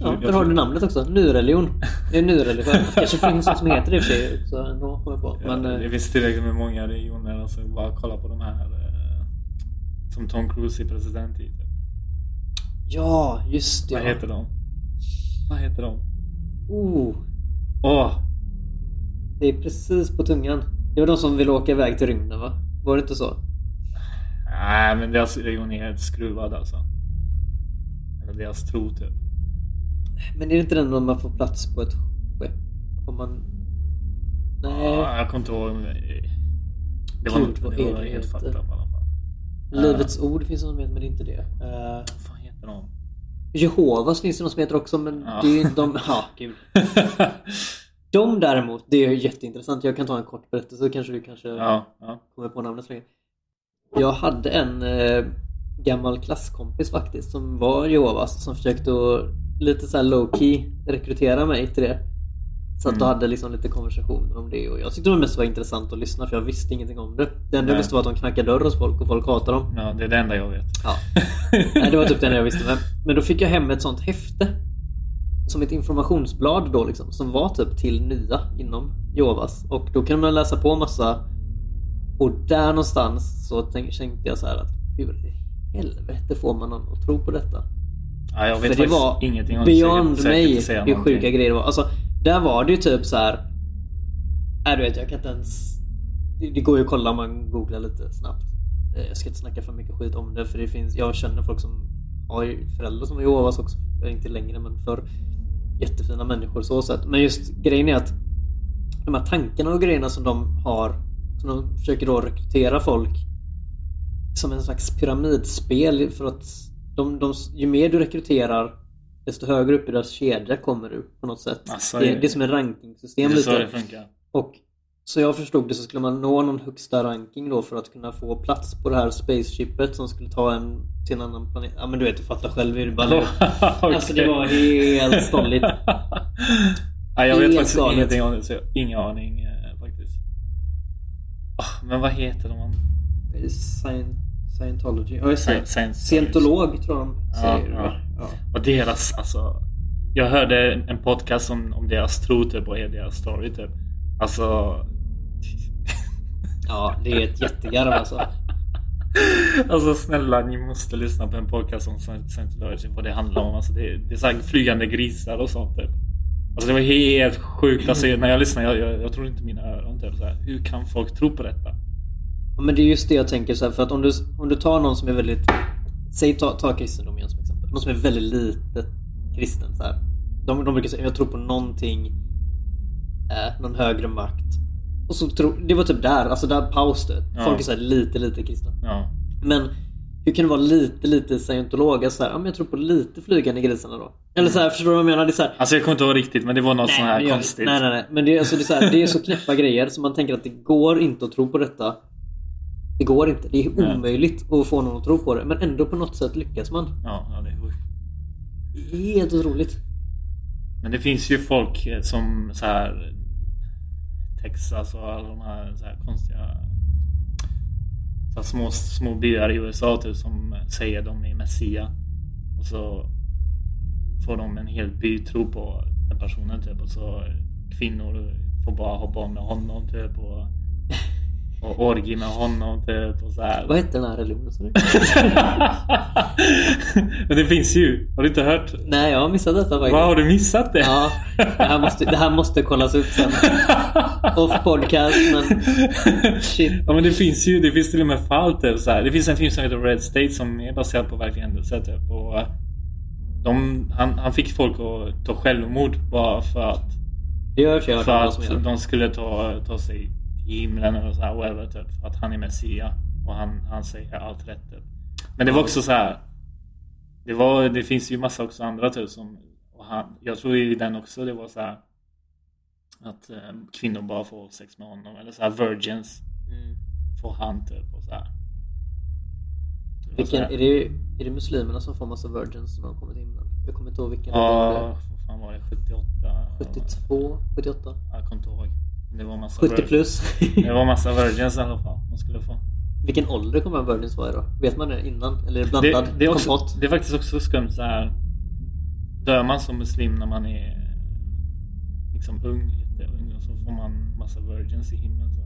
S3: Ja, där har du namnet också. Ny religion. Det är ny religion. Det kanske finns något som heter det i och för sig också. Ändå kommer jag på.
S2: Ja,
S3: Men,
S2: det
S3: eh,
S2: finns tillräckligt med många religioner. Alltså, bara kolla på de här eh, som Tom Cruise är president i. Typ.
S3: ja, just det.
S2: Vad heter de? Vad heter de?
S3: Oh,
S2: Åh!
S3: det är precis på tungan. Det var de som ville åka iväg till rymden va? Var det inte så?
S2: Nej, men deras religion är helt skruvad alltså. Eller deras tro typ.
S3: Men är det inte den om man får plats på ett skepp? Om man... Nej.
S2: Ja, eh. jag kommer inte ihåg. men Det var,
S3: Gud,
S2: något,
S3: vad
S2: det
S3: är
S2: var
S3: det
S2: helt
S3: heter?
S2: fucked up i alla fall.
S3: Livets ord finns det något som heter, men det är inte det. Eh,
S2: Vad fan heter de?
S3: Jehovas finns det något som heter också, men
S2: Ja.
S3: det är ju inte de... Ja, gud. De däremot, det är ju jätteintressant. Jag kan ta en kort berättelse så kanske du kanske
S2: ja, ja.
S3: kommer på namnet så länge. Jag hade en eh, gammal klasskompis faktiskt som var Jehovas som försökte att lite så här low key rekrytera mig till det. Så att då
S2: Mm.
S3: hade liksom lite konversationer om det och jag tyckte det mest var intressant att lyssna för jag visste ingenting om det. Det enda
S2: Nej.
S3: jag visste var att de knackar dörr hos folk och folk hatar dem.
S2: ja, det är det enda jag vet.
S3: Ja. Nej, det var typ det enda jag visste. Men, men då fick jag hem ett sånt häfte. Som ett informationsblad då liksom. Som var typ till nya inom Jovas. Och då kunde man läsa på massa. Och där någonstans så tänk- tänkte jag så här att hur i helvete får man någon att tro på detta?
S2: Ja, jag vet
S3: För det
S2: faktiskt
S3: var
S2: ingenting om det, så jag kan
S3: beyond
S2: säkert
S3: mig
S2: inte säga
S3: hur
S2: någonting.
S3: sjuka grejer det var. Alltså, där var det ju typ så här. Nej, du vet, jag kan inte ens... Det det går ju att kolla om man googlar lite snabbt. Eh, Jag ska inte snacka för mycket skit om det för det finns... Jag känner folk som har ju föräldrar som är Jehovas också. Eh, Inte längre men för Jättefina människor så sett. Men just grejen är att de här tankarna och grejerna som de har som de försöker då rekrytera folk som en slags pyramidspel för att de, de, ju mer du rekryterar desto högre upp i deras kedja kommer du på något sätt.
S2: Alltså,
S3: det,
S2: det-
S3: det är som en rankingsystem
S2: Det är så
S3: lite.
S2: det funkar.
S3: Och Så jag förstod det så skulle man nå någon högsta ranking då för att kunna få plats på det här spaceshipet som skulle ta en till en annan planet. Ja men du vet, du fattar själv hur det bara
S2: Okej.
S3: Alltså det var helt stolligt.
S2: ja, jag vet
S3: Helt
S2: faktiskt
S3: galet.
S2: ingenting om det, så jag har ingen aning eh, faktiskt. Ah, men vad heter de?
S3: Scien- Scientology. Ja, just
S2: Scien-
S3: det.
S2: Scientology.
S3: Scientolog tror jag de
S2: Ja,
S3: säger.
S2: ja.
S3: va? Ja.
S2: Och deras, alltså. Jag hörde en podcast om, om deras tro typ, och deras story typ. Alltså.
S3: ja, det är ett jättegarv alltså.
S2: Alltså snälla, ni måste lyssna på en podcast om Scient- Scientology, vad det handlar om. Alltså, det, det är så här flygande grisar och sånt typ. Alltså det var helt sjukt. Alltså, när jag lyssnade, jag, jag, jag trodde inte mina öron typ. Så här, hur kan folk tro på detta?
S3: Ja, men det är just det jag tänker så här, för att om du, om du tar någon som är väldigt Säg ta, ta kristendom igen som exempel. Någon som är väldigt lite kristen så här. De, de brukar säga jag tror på någonting eh, Någon högre makt och så tro, Det var typ där, alltså där paus det.
S2: Ja.
S3: Folk är så här, lite lite kristna
S2: Ja.
S3: Men hur kan du vara lite lite scientolog? Alltså, så här, ja, men jag tror på lite flygande grisarna då Eller så här, förstår du vad jag menar? Det är så här,
S2: Alltså jag kommer inte ihåg riktigt men det var något sånt
S3: men
S2: här
S3: jag-
S2: konstigt.
S3: Nej, nej, nej. Men det, är- alltså, det, är så här, det är så knäppa grejer så man tänker att det går inte att tro på detta. Det går inte. Det är
S2: Nej.
S3: omöjligt att få någon att tro på det. Men ändå på något sätt lyckas man.
S2: Ja, ja, det är sjukt.
S3: Det är helt otroligt.
S2: Men det finns ju folk eh, som så här Texas och alla de här, så här konstiga så här små, små byar i USA typ, som säger de är messia. Och så får de en hel by tro på den personen typ och så kvinnor får bara ha barn med honom typ och, och orgi med honom typ och så här.
S3: Vad hette den här religionen? sa du?
S2: Men det finns ju. Har du inte hört?
S3: Nej, jag har missat detta faktiskt.
S2: Vad har du missat det?
S3: Ja, det här måste, det här måste kollas upp sen. Off podcast, men shit.
S2: Ja men det finns ju, det finns till och med fall typ, så här. Det finns en film som heter Red State som är baserad på verkliga händelser typ. Och eh, de, han, han fick folk att ta självmord bara för att,
S3: Det gör jag
S2: för
S3: vad som gör.
S2: att de skulle ta, ta sig till himlen eller så här, whatever, typ. För att han är messia och han, han säger allt rätt typ. Men det var också så här. Det, var, det finns ju massa också andra typ som, och han, jag tror i den också det var så här. Att eh, kvinnor bara får sex med honom eller så här virgins
S3: Mm.
S2: får han typ och så här. Det var så
S3: Vilken,
S2: här.
S3: är, det, är det muslimerna som får massa virgins när de kommer till himlen? Jag kommer inte ihåg vilken religion
S2: Ja, vad fan var det? 78?
S3: det är. 72, 78,
S2: Jag kommer inte ihåg. Men det var massa
S3: 70
S2: virgins.
S3: plus.
S2: Det var massa virgins i alla fall de skulle få.
S3: Vilken ålder kommer en virgins vara i då? Vet man det innan? Eller är det blandad
S2: Det, det, är också,
S3: kompott?
S2: det är faktiskt också skumt så här. Dör man som muslim när man är liksom ung, jätteung och så får man massa virgins i himlen. Så.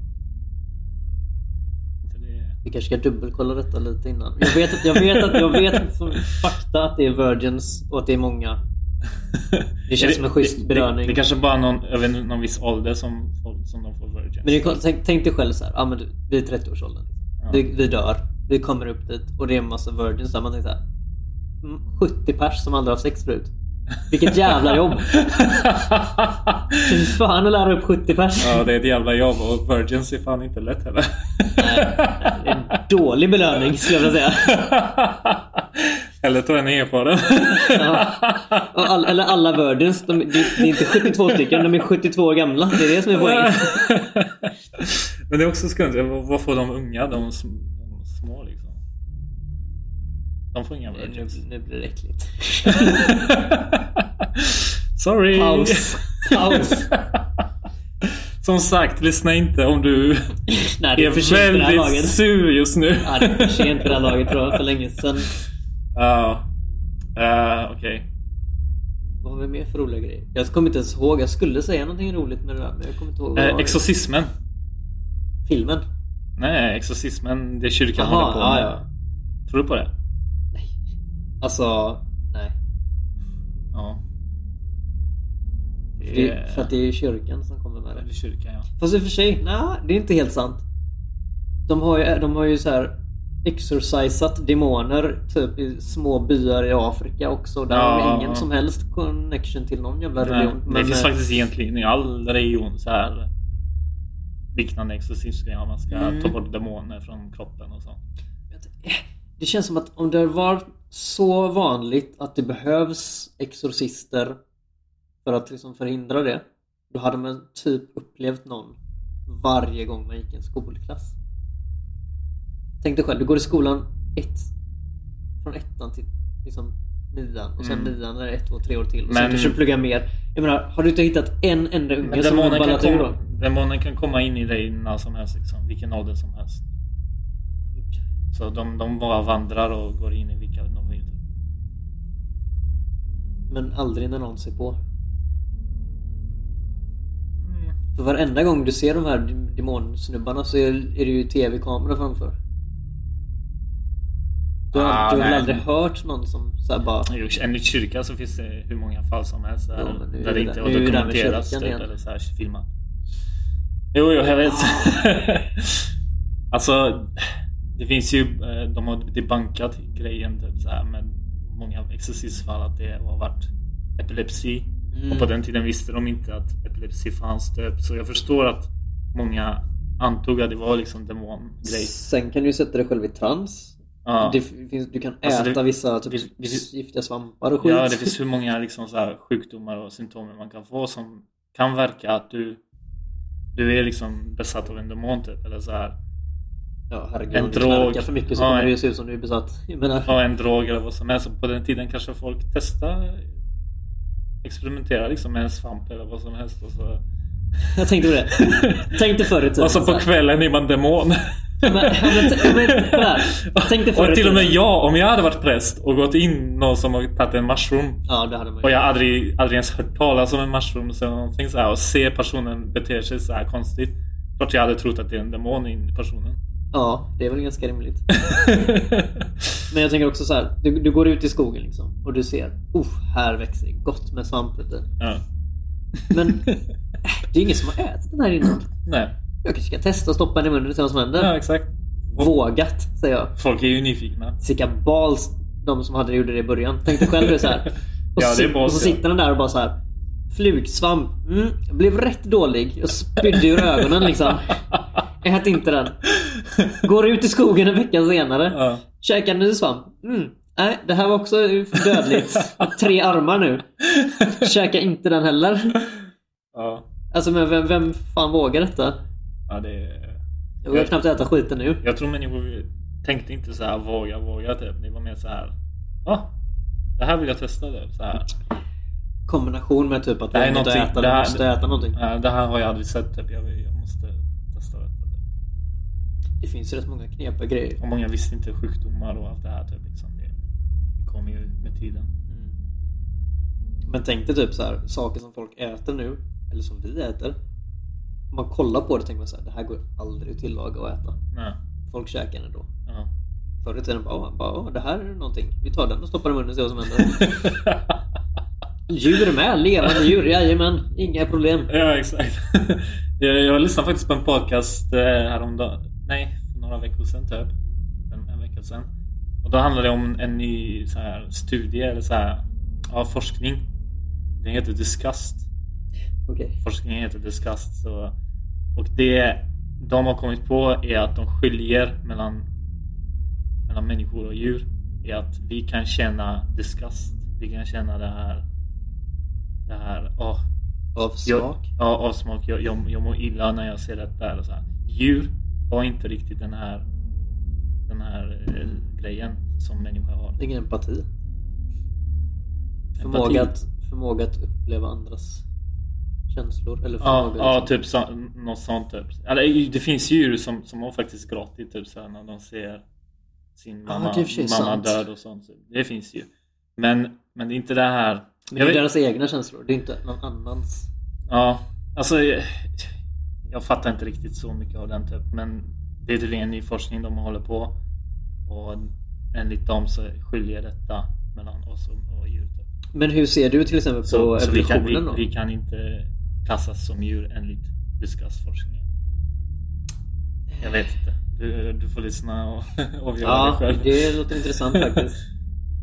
S2: Så det,
S3: Vi kanske ska dubbelkolla detta lite innan. Jag vet, att, jag vet, att, jag vet som fakta att det är virgins och att det är många. Det känns som en schysst
S2: det- Det,
S3: belöning.
S2: det kanske bara är någon över någon viss ålder som, folk- som de får virgins.
S3: Men det är, kon- tänk, tänk dig själv så här, ah, men du, vi är 30-årsåldern. Liksom.
S2: Ja.
S3: Vi, vi dör, vi kommer upp dit och det är en massa virgins där. Man tänker så här, mm, 70 pers som aldrig har haft sex förut. Vilket jävla jobb! Fy fan att lära upp 70 pers!
S2: Ja, det är ett jävla jobb och Virgins är fan inte lätt heller.
S3: Nej, det är en dålig belöning skulle jag vilja säga.
S2: Eller ta en erfaren.
S3: Ja. Och all, eller alla Virgins. De, det, det är inte 72 stycken, de är 72 år gamla. Det är det som är poängen.
S2: Men det är också skumt. Vad vad får de unga? De, sm- de små liksom. De får inga
S3: Nu,
S2: Virgins.
S3: nu blir det äckligt.
S2: Sorry!
S3: Paus. Paus.
S2: Som sagt, lyssna inte om du
S3: Nej, det är för
S2: är
S3: sent för det här
S2: väldigt
S3: laget.
S2: sur just nu.
S3: Ja, det är för sent för det här laget tror jag. För länge sedan.
S2: Ja. Eh, Okej.
S3: Vad har vi mer för roliga grejer? Jag kommer inte ens ihåg. Jag skulle säga någonting roligt med det där, men jag kommer inte ihåg. vad det
S2: Eh,
S3: var.
S2: exorcismen.
S3: Filmen?
S2: Nej, exorcismen. Det kyrkan
S3: Jaha,
S2: håller på
S3: ja,
S2: med.
S3: ja.
S2: Tror du på det?
S3: Nej. Alltså, nej.
S2: Ja.
S3: För, det, för att det är ju kyrkan som kommer med det.
S2: Eller kyrkan, ja.
S3: Fast i och för sig, nej, det är inte helt sant. De har ju, de har ju så här exorcisat demoner typ i små byar i Afrika också. Där
S2: Ja,
S3: har de
S2: ja,
S3: ingen
S2: ja.
S3: som helst connection till någon jävla
S2: Nej,
S3: religion.
S2: det finns
S3: eh,
S2: faktiskt egentligen i all religion så här liknande exorcism. Ja, man ska
S3: Mm.
S2: ta bort demoner från kroppen och sånt.
S3: det känns som att om det var så vanligt att det behövs exorcister för att liksom förhindra det. Då hade man typ upplevt någon varje gång man gick i en skolklass. Tänk dig själv, du går i skolan ett, från ettan till liksom, nian och sen
S2: Mm.
S3: nian där är det ett, två, tre år till och sen
S2: Men-
S3: kanske du pluggar mer. Jag menar, har du inte hittat en enda
S2: Men
S3: unge som har
S2: demonen kan,
S3: ballat ur då?
S2: komma, demonen kan komma in i dig när som helst, liksom, vilken ålder som helst. Så de, de bara vandrar och går in i vilka de vill.
S3: Men aldrig när någon ser på.
S2: Mm.
S3: För varenda gång du ser de här dem- demonsnubbarna så är, är det ju tv-kamera framför. Du har,
S2: Ah,
S3: du har väl
S2: nej.
S3: aldrig hört någon som så här bara...
S2: Jo, I en kyrka så finns det hur många fall som helst där,
S3: Ja, men nu är
S2: där
S3: det-
S2: det inte har
S3: nu är det där med
S2: dokumenterats
S3: kyrkan
S2: typ,
S3: igen.
S2: eller så här, filmat. Jo, jo, jag vet. alltså, det finns ju, eh, de har debankat grejen typ så här med många exorcistfall att det har varit epilepsi.
S3: Mm.
S2: Och på den tiden visste de inte att epilepsi fanns typ. Så jag förstår att många antog att det var liksom demongrej.
S3: Sen kan du ju sätta dig själv i trans.
S2: Ja.
S3: Det f- finns, du kan
S2: Alltså,
S3: äta
S2: det-
S3: vissa typ,
S2: det- det-
S3: giftiga svampar och skit.
S2: Ja, det finns hur många liksom så här sjukdomar och symptom man kan få som kan verka att du, du är liksom besatt av en demon typ. Eller så här.
S3: Ja, herregud.
S2: En
S3: om du knarkar
S2: drog.
S3: för mycket så
S2: Ja,
S3: kommer
S2: en-
S3: det ju se ut som du är besatt. Jag menar,
S2: Ja, en drog eller vad som helst. Och på den tiden kanske folk testade experimentera liksom med en svamp eller vad som helst. Och så,
S3: jag tänkte på det. Tänkte förr i tiden.
S2: och så på
S3: Typ här.
S2: kvällen är man demon.
S3: Men- men- men- kolla här. Tänkte förr i
S2: och till och med
S3: tiden.
S2: jag, om jag hade varit präst och gått in någon som har tagit en mushroom
S3: Ja, det hade man ju.
S2: Och jag har aldrig, aldrig ens hört talas om en mushroom eller någonting så här, och se personen bete sig så här konstigt. Klart jag hade trott att det är en demon i personen.
S3: Ja, det är väl ganska rimligt. Men jag tänker också så här. Du, du går ut i skogen liksom och du ser. Oh, här växer det gott med svamp. vet du."
S2: ja.
S3: Men äh, det är ingen som har ätit den här innan.
S2: Nej,
S3: Jag kanske ska testa att stoppa den i munnen och se vad som händer.
S2: ja, exakt.
S3: Vågat, säger jag.
S2: Folk är ju nyfikna.
S3: Sicka balls, de som hade gjorde det i början. Tänkte själv det så här. Och,
S2: Ja, det är
S3: si-
S2: balls,
S3: och så
S2: ja.
S3: sitter den där och bara så här. Flugsvamp. Mm, jag blev rätt dålig. Jag spydde ur ögonen liksom. Ät inte den. Går ut i skogen en vecka senare.
S2: Ja.
S3: Käkar ny svamp. Mm. Nej, det här var också dödligt. Jag har Tre armar nu. Käka inte den heller.
S2: Ja.
S3: Alltså men vem, vem fan vågar detta?
S2: Ja, det är...
S3: Jag vågar knappt äta skiten nu.
S2: Jag tror människor tänkte inte så här våga, våga typ. Det var mer så här. Ah, det här vill jag testa typ. Så här.
S3: kombination med typ att
S2: Det här
S3: vi
S2: är
S3: inte
S2: någonting-
S3: äta,
S2: det
S3: vi
S2: här-
S3: måste äta någonting.
S2: Ja, det här har jag aldrig sett typ. Jag, jag måste testa detta. Typ.
S3: Det finns ju rätt många knepiga grejer.
S2: Och många visste inte sjukdomar och allt det här. Typ, liksom. Det kom ju med tiden.
S3: Men tänk dig typ så här, saker som folk äter nu, eller som vi äter. Om man kollar på det tänker man så här, det här går aldrig att tillaga och äta.
S2: Nej.
S3: Folk käkar det då.
S2: Ja.
S3: Förr i tiden bara, "Åh, bara "Åh, det här är någonting. Vi tar den och stoppar i munnen och ser vad som händer. djur med, levande djur, jajamän. Inga problem.
S2: ja, exakt. jag, jag lyssnade faktiskt på en podcast eh, häromdagen. Nej, för några veckor sedan typ. En, en vecka sedan. Och då handlade det om en ny så här, studie eller så här, ja, forskning. Den heter Disgust.
S3: Okej.
S2: Forskningen heter Disgust. Så, och det de har kommit på är att de skiljer mellan, mellan människor och djur. Är att vi kan känna disgust. Vi kan känna det här... Det här, åh,
S3: Av
S2: jag,
S3: smak.
S2: ja, avsmak. Jag, jag, jag mår illa när jag ser detta. Eller så här. Djur har inte riktigt den här, den här eh, grejen som människor har.
S3: Ingen empati.
S2: Empati.
S3: Förmåga att, förmåga att uppleva andras känslor. Eller
S2: Ja,
S3: förmåga
S2: ja
S3: att...
S2: typ så, något sånt. Typ. Eller, det finns djur som, som har faktiskt gråtit typ, så här, när de ser sin
S3: Ja,
S2: mamma,
S3: det är i och för sig
S2: mamma
S3: sant.
S2: död och sånt. typ. Det finns ju. Men, men det är inte det här.
S3: Men
S2: Jag
S3: det
S2: vet-
S3: är deras egna känslor. Det är inte någon annans.
S2: Ja, alltså jag, jag fattar inte riktigt så mycket av den typ. Men det är tydligen ny forskning de håller på. Och enligt dem så skiljer detta mellan oss och, och djur. Typ.
S3: Men hur ser du till exempel på
S2: Så, så vi,
S3: evolutionen
S2: kan, vi,
S3: då?
S2: vi kan inte klassas som djur enligt buskasforskningen. Jag vet inte. Du, du får lyssna och avgöra
S3: Ja,
S2: det själv.
S3: det låter intressant faktiskt.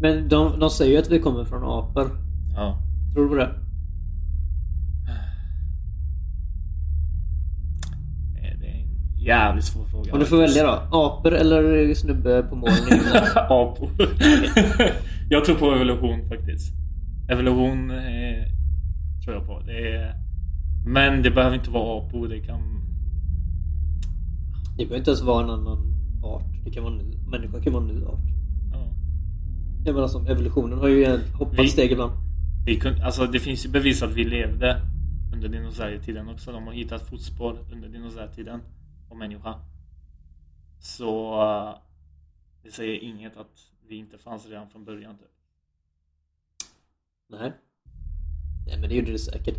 S3: Men de, de säger ju att vi kommer från apor.
S2: ja.
S3: Tror du på det?
S2: Eh, Det är en jävligt svår fråga.
S3: Om du får välja då. Apor eller snubbe på molnen?
S2: Apor. jag tror på evolution faktiskt. Evolution eh, tror jag på. Det är... Men det behöver inte vara apor. Det kan
S3: Det behöver inte ens vara en annan art. Det kan vara en ny, människan kan vara en ny art.
S2: Ja.
S3: Jag menar som evolutionen har ju en- hoppat
S2: Vi-
S3: steg ibland.
S2: Vi kunde, alltså det finns ju bevis att vi levde under dinosaurietiden också. De har hittat fotspår under dinosaurietiden och människa. Så eh, det säger inget att vi inte fanns redan från början. typ.
S3: Nej. Nej men det gjorde det säkert.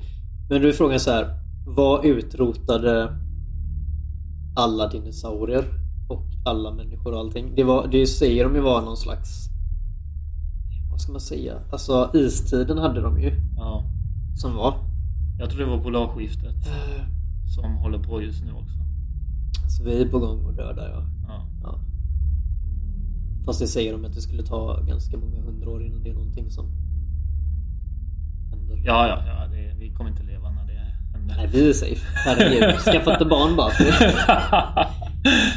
S3: Men du frågar så här. Vad utrotade alla dinosaurier och alla människor och allting? Det, var, det säger de ju var någon slags... Vad ska man säga? Alltså istiden hade de ju
S2: Ja.
S3: som var.
S2: Jag tror det var polarskiftet
S3: Eh,
S2: som håller på just nu också.
S3: Så vi är på gång att döda ja.
S2: Ja.
S3: ja. Fast det säger de att det skulle ta ganska många hundra år innan det är någonting som händer.
S2: Ja, ja, ja det, vi kommer inte leva när det händer.
S3: Nej vi är safe. Herregud. Skaffa inte barn bara.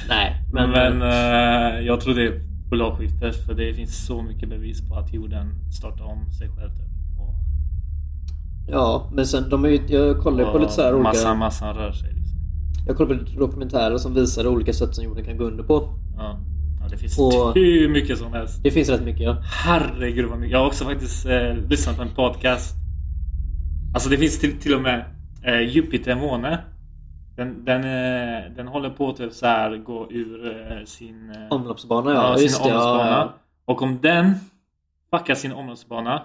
S3: Nej men...
S2: Men, eh, jag tror det är polarskiftet för det finns så mycket bevis på att jorden startar om sig själv. Typ. Och,
S3: Ja, men sen de är ju, jag kollar ju på
S2: och
S3: lite så här
S2: massa,
S3: olika,
S2: massa rör sig liksom.
S3: jag kollar på lite dokumentärer som visar olika sätt som jorden kan gå under på.
S2: Ja. ja, det finns
S3: Och-
S2: hur mycket som helst.
S3: Det finns rätt mycket ja.
S2: Herregud vad mycket. Jag har också faktiskt eh, lyssnat på en podcast. Alltså det finns till, till och med eh, Jupiter måne. Den, den, eh, den håller på att typ så här gå ur eh, sin... Eh,
S3: Omloppsbana ja,
S2: ja,
S3: just
S2: sin
S3: det. Ja,
S2: omloppsbana.
S3: ja.
S2: Och om den fuckar sin omloppsbana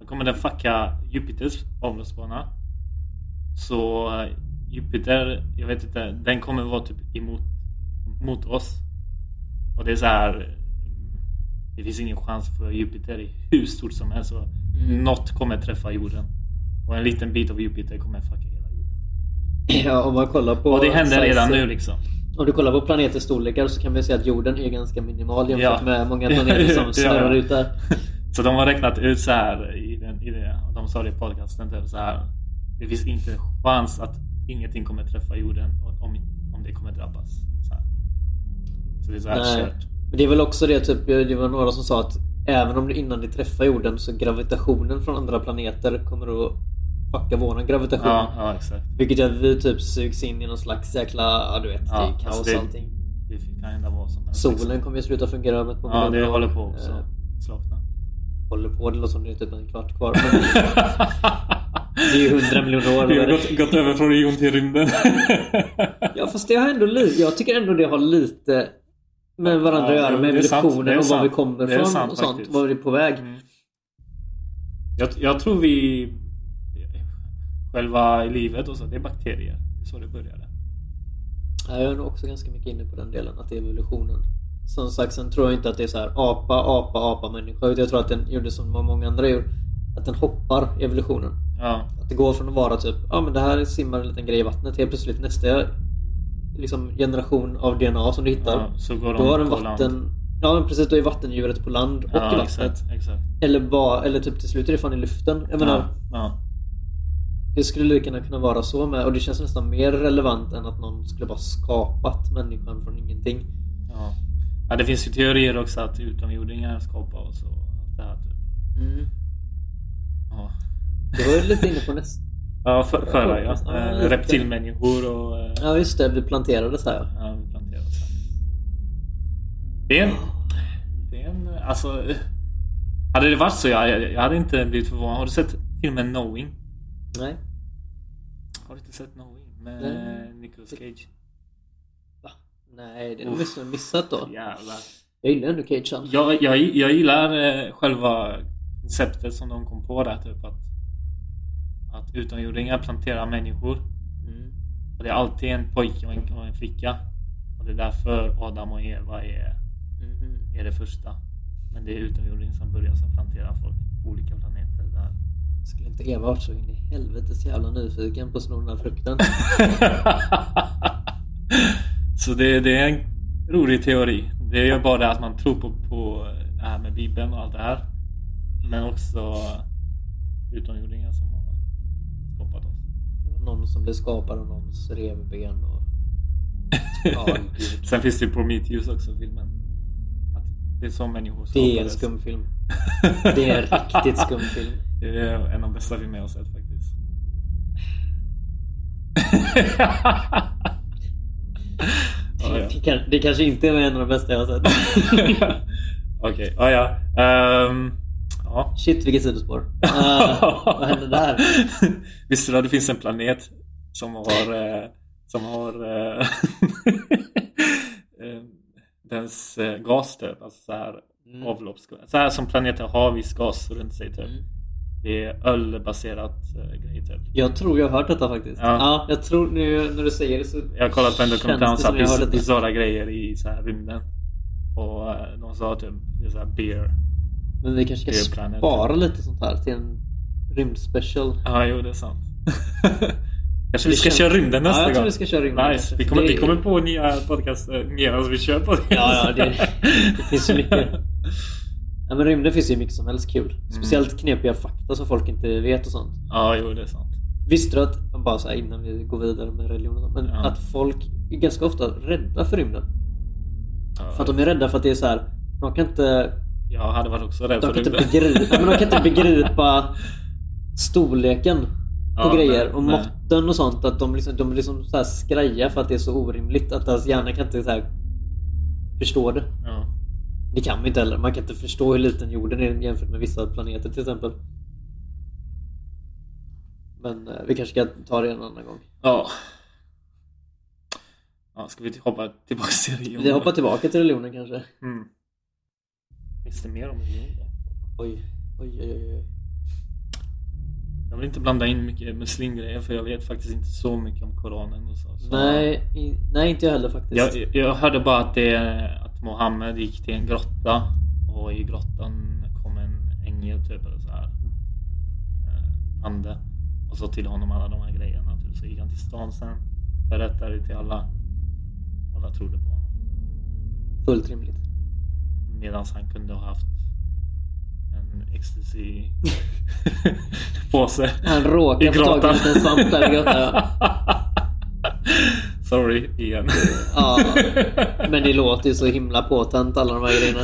S2: då kommer den fucka Jupiters omloppsbana. Så eh, Jupiter, jag vet inte, den kommer vara typ emot mot oss. Och det är så här. eh, Det finns ingen chans för Jupiter är hur stort som helst. Så
S3: Mm.
S2: Något kommer träffa jorden. Och en liten bit av Jupiter kommer fucka hela jorden.
S3: ja, om man kollar på...
S2: Och det händer
S3: size-
S2: redan nu liksom.
S3: Om du kollar på planeters storlekar så kan man ju säga att jorden är ganska minimal jämfört
S2: Ja.
S3: med många planeter
S2: Ja.
S3: som snurrar ut där.
S2: Så de har räknat ut så här i, den, i det, och de sa det i podcasten typ så här. Det finns inte en chans att ingenting kommer träffa jorden och- om, om det kommer drabbas. Så, här. så det är så här
S3: Nej.
S2: kört.
S3: Men det är väl också det, typ, det var några som sa att även om det innan det träffar jorden så gravitationen från andra planeter kommer att fucka våran gravitation.
S2: Ja, ja, exakt.
S3: Vilket gör att vi typ sugs in i någon slags jäkla, ja du vet,
S2: Ja,
S3: det är kaos
S2: alltså det-
S3: och allting.
S2: Det kan hända vad som helst. liksom.
S3: Solen kommer ju sluta fungera om ett par
S2: Ja, det
S3: minuter.
S2: håller på också.
S3: Eh,
S2: Slockna.
S3: håller på, det låter som det är typ en kvart kvar. Men det är ju hundra miljoner år.
S2: Vi har
S3: eller?
S2: gått, gått över från jorden till rymden.
S3: Ja fast det har ändå lite, jag tycker ändå det har lite med varandra att
S2: Ja,
S3: göra.
S2: jo,
S3: Med
S2: det är sant. Det
S3: evolutionen
S2: är
S3: och var vi
S2: sant.
S3: kommer
S2: Det är
S3: ifrån
S2: sant
S3: och sånt.
S2: faktiskt.
S3: Var vi är på väg.
S2: Mm. Jag, jag tror vi... Själva livet och så, det är bakterier. Det är så det började.
S3: Ja, Jag är nog också ganska mycket inne på den delen, att det är evolutionen. Som sagt, sen tror jag inte att det är så här apa, apa, apa, människa. Utan jag tror att den gjorde som många andra gjorde. Att den hoppar, evolutionen.
S2: Ja,
S3: Att det går från att vara typ, ja men det här simmar en liten grej i vattnet. Helt plötsligt nästa liksom, generation av DNA som du hittar.
S2: ja så går de
S3: då har den
S2: på
S3: vatten...
S2: land.
S3: Ja men precis, då är vattendjuret på land och i
S2: ja,
S3: vattnet.
S2: exakt, exakt.
S3: Eller, bara, eller typ till slut är det fan i luften. Jag menar,
S2: Ja, ja.
S3: det skulle lika gärna kunna vara så med. Och det känns nästan mer relevant än att någon skulle bara skapat människan från ingenting.
S2: Ja. ja, det finns ju teorier också att utomjordingar skapar oss och allt det här typ. Ja,
S3: Det var ju lite inne på nästa...
S2: ja för, förra ja.
S3: Ja,
S2: Eh,
S3: lite.
S2: Reptilmänniskor och... eh,
S3: Ja just det, vi planterade så här.
S2: Ja, vi planterar oss här. Det är en... Det är en alltså, eh, hade det varit så, jag, jag, jag hade inte blivit förvånad. Har du sett filmen Knowing?
S3: Nej.
S2: Har du inte sett Knowing? Med
S3: Nej.
S2: Nicolas Cage?
S3: Va? Nej, det har jag missat då.
S2: Jävlar.
S3: Jag gillar ändå Cage han.
S2: Jag, jag, jag gillar eh, själva konceptet som de kom på där. Typ att, att utomjordingar planterar människor.
S3: Mm.
S2: Och det är alltid en pojke och en, och en flicka. Och det är därför Adam och Eva är
S3: Mhm.
S2: är det första. Men det är utomjordingar som börjar som plantera folk på olika planeter. Där.
S3: Skulle inte Eva varit så in i helvetes jävla nyfiken på att sno den här frukten?
S2: så det, det är en rolig teori. Det är ju bara det att man tror på, på det här med Bibeln och allt det här. Men också utomjordingar som har skapat oss.
S3: Någon som blev skapad av någons revben och... Ja, gud.
S2: Sen finns det ju Prometheus också filmen. Att det är som människor
S3: Det är en
S2: skapades.
S3: skum film. Det är en riktigt skum film.
S2: Det är en av de bästa filmer jag har sett faktiskt. Ja, ja.
S3: Det, kan, det kanske inte är en av de bästa jag har sett.
S2: Okej, ja ja. Ehm, ja.
S3: Shit vilket sidospår. Eh, vad hände där?
S2: Visste du att det finns en planet som har... eh, som har... eh, eh, dens eh, gas typ. Alltså så här
S3: Mm.
S2: avloppsgas. Så här som planeter har viss gas runt sig typ.
S3: Mm.
S2: Det är ölbaserat eh, grej typ.
S3: Jag tror jag har hört detta faktiskt.
S2: Ja.
S3: Ja, jag tror nu när du säger det så
S2: Jag har kollat på en dokumentär om
S3: känns det
S2: så
S3: som jag har
S2: här
S3: hört det.
S2: bisarra grejer i så här rymden. Och eh, de sa typ, det är så här beer.
S3: Men vi kanske
S2: Det är
S3: ska
S2: planet.
S3: spara lite sånt här till en rymdspecial.
S2: Ja, jo det är sant. Kanske vi
S3: Det
S2: ska
S3: känns-
S2: köra rymden nästa
S3: ja, jag
S2: gång.
S3: tror vi ska köra rymden.
S2: Nice.
S3: kanske,
S2: Vi
S3: för
S2: kommer,
S3: det-
S2: vi kommer på nya podcast eh, medan vi kör podcast.
S3: Ja, ja, det- det finns så mycket. Ja, men rymden finns ju mycket som helst kul.
S2: Mm.
S3: Speciellt knepiga fakta som folk inte vet och sånt.
S2: ja, jo det är sant.
S3: Visste du att, bara så här innan vi går vidare med religion och sånt, men
S2: Ja.
S3: att folk är ganska ofta rädda för rymden.
S2: Ja,
S3: För att de är rädda för att det är så här, de kan inte
S2: Jag hade varit också rädd
S3: De kan,
S2: för
S3: inte
S2: rymden.
S3: begripa, men de kan inte begripa storleken på
S2: Ja,
S3: grejer
S2: nej,
S3: och
S2: nej.
S3: måtten och sånt. Att de liksom, de liksom så här skrajar för att det är så orimligt. Att deras hjärna kan inte så här förstå det.
S2: Ja.
S3: Det kan man inte heller. Man kan inte förstå hur liten jorden är jämfört med vissa planeter till exempel. Men eh, vi kanske ska ta det en annan gång.
S2: ja. Ja, ska vi hoppa tillbaka till religion?
S3: Vi hoppar tillbaka till religionen kanske.
S2: Mm. Finns det mer om religion då?
S3: Oj, oj, oj, oj. oj.
S2: Jag vill inte blanda in mycket muslimgrejer för jag vet faktiskt inte så mycket om Koranen och så. så
S3: Nej, i, nej, inte jag heller faktiskt.
S2: Jag, jag hörde bara att, det, att Mohammed gick till en grotta och i grottan kom en ängel typ eller så här. Eh, ande. Och så till honom alla de här grejerna. Typ. Så gick han till stan sen. Berättade det till alla. Och alla trodde på honom.
S3: Fullt rimligt.
S2: Medan han kunde ha haft en ecstasy påse.
S3: Han råkade få tag i en liten svamp där i grottan. ja.
S2: Sorry igen.
S3: Ja, men det låter ju så himla påtänt alla de här grejerna.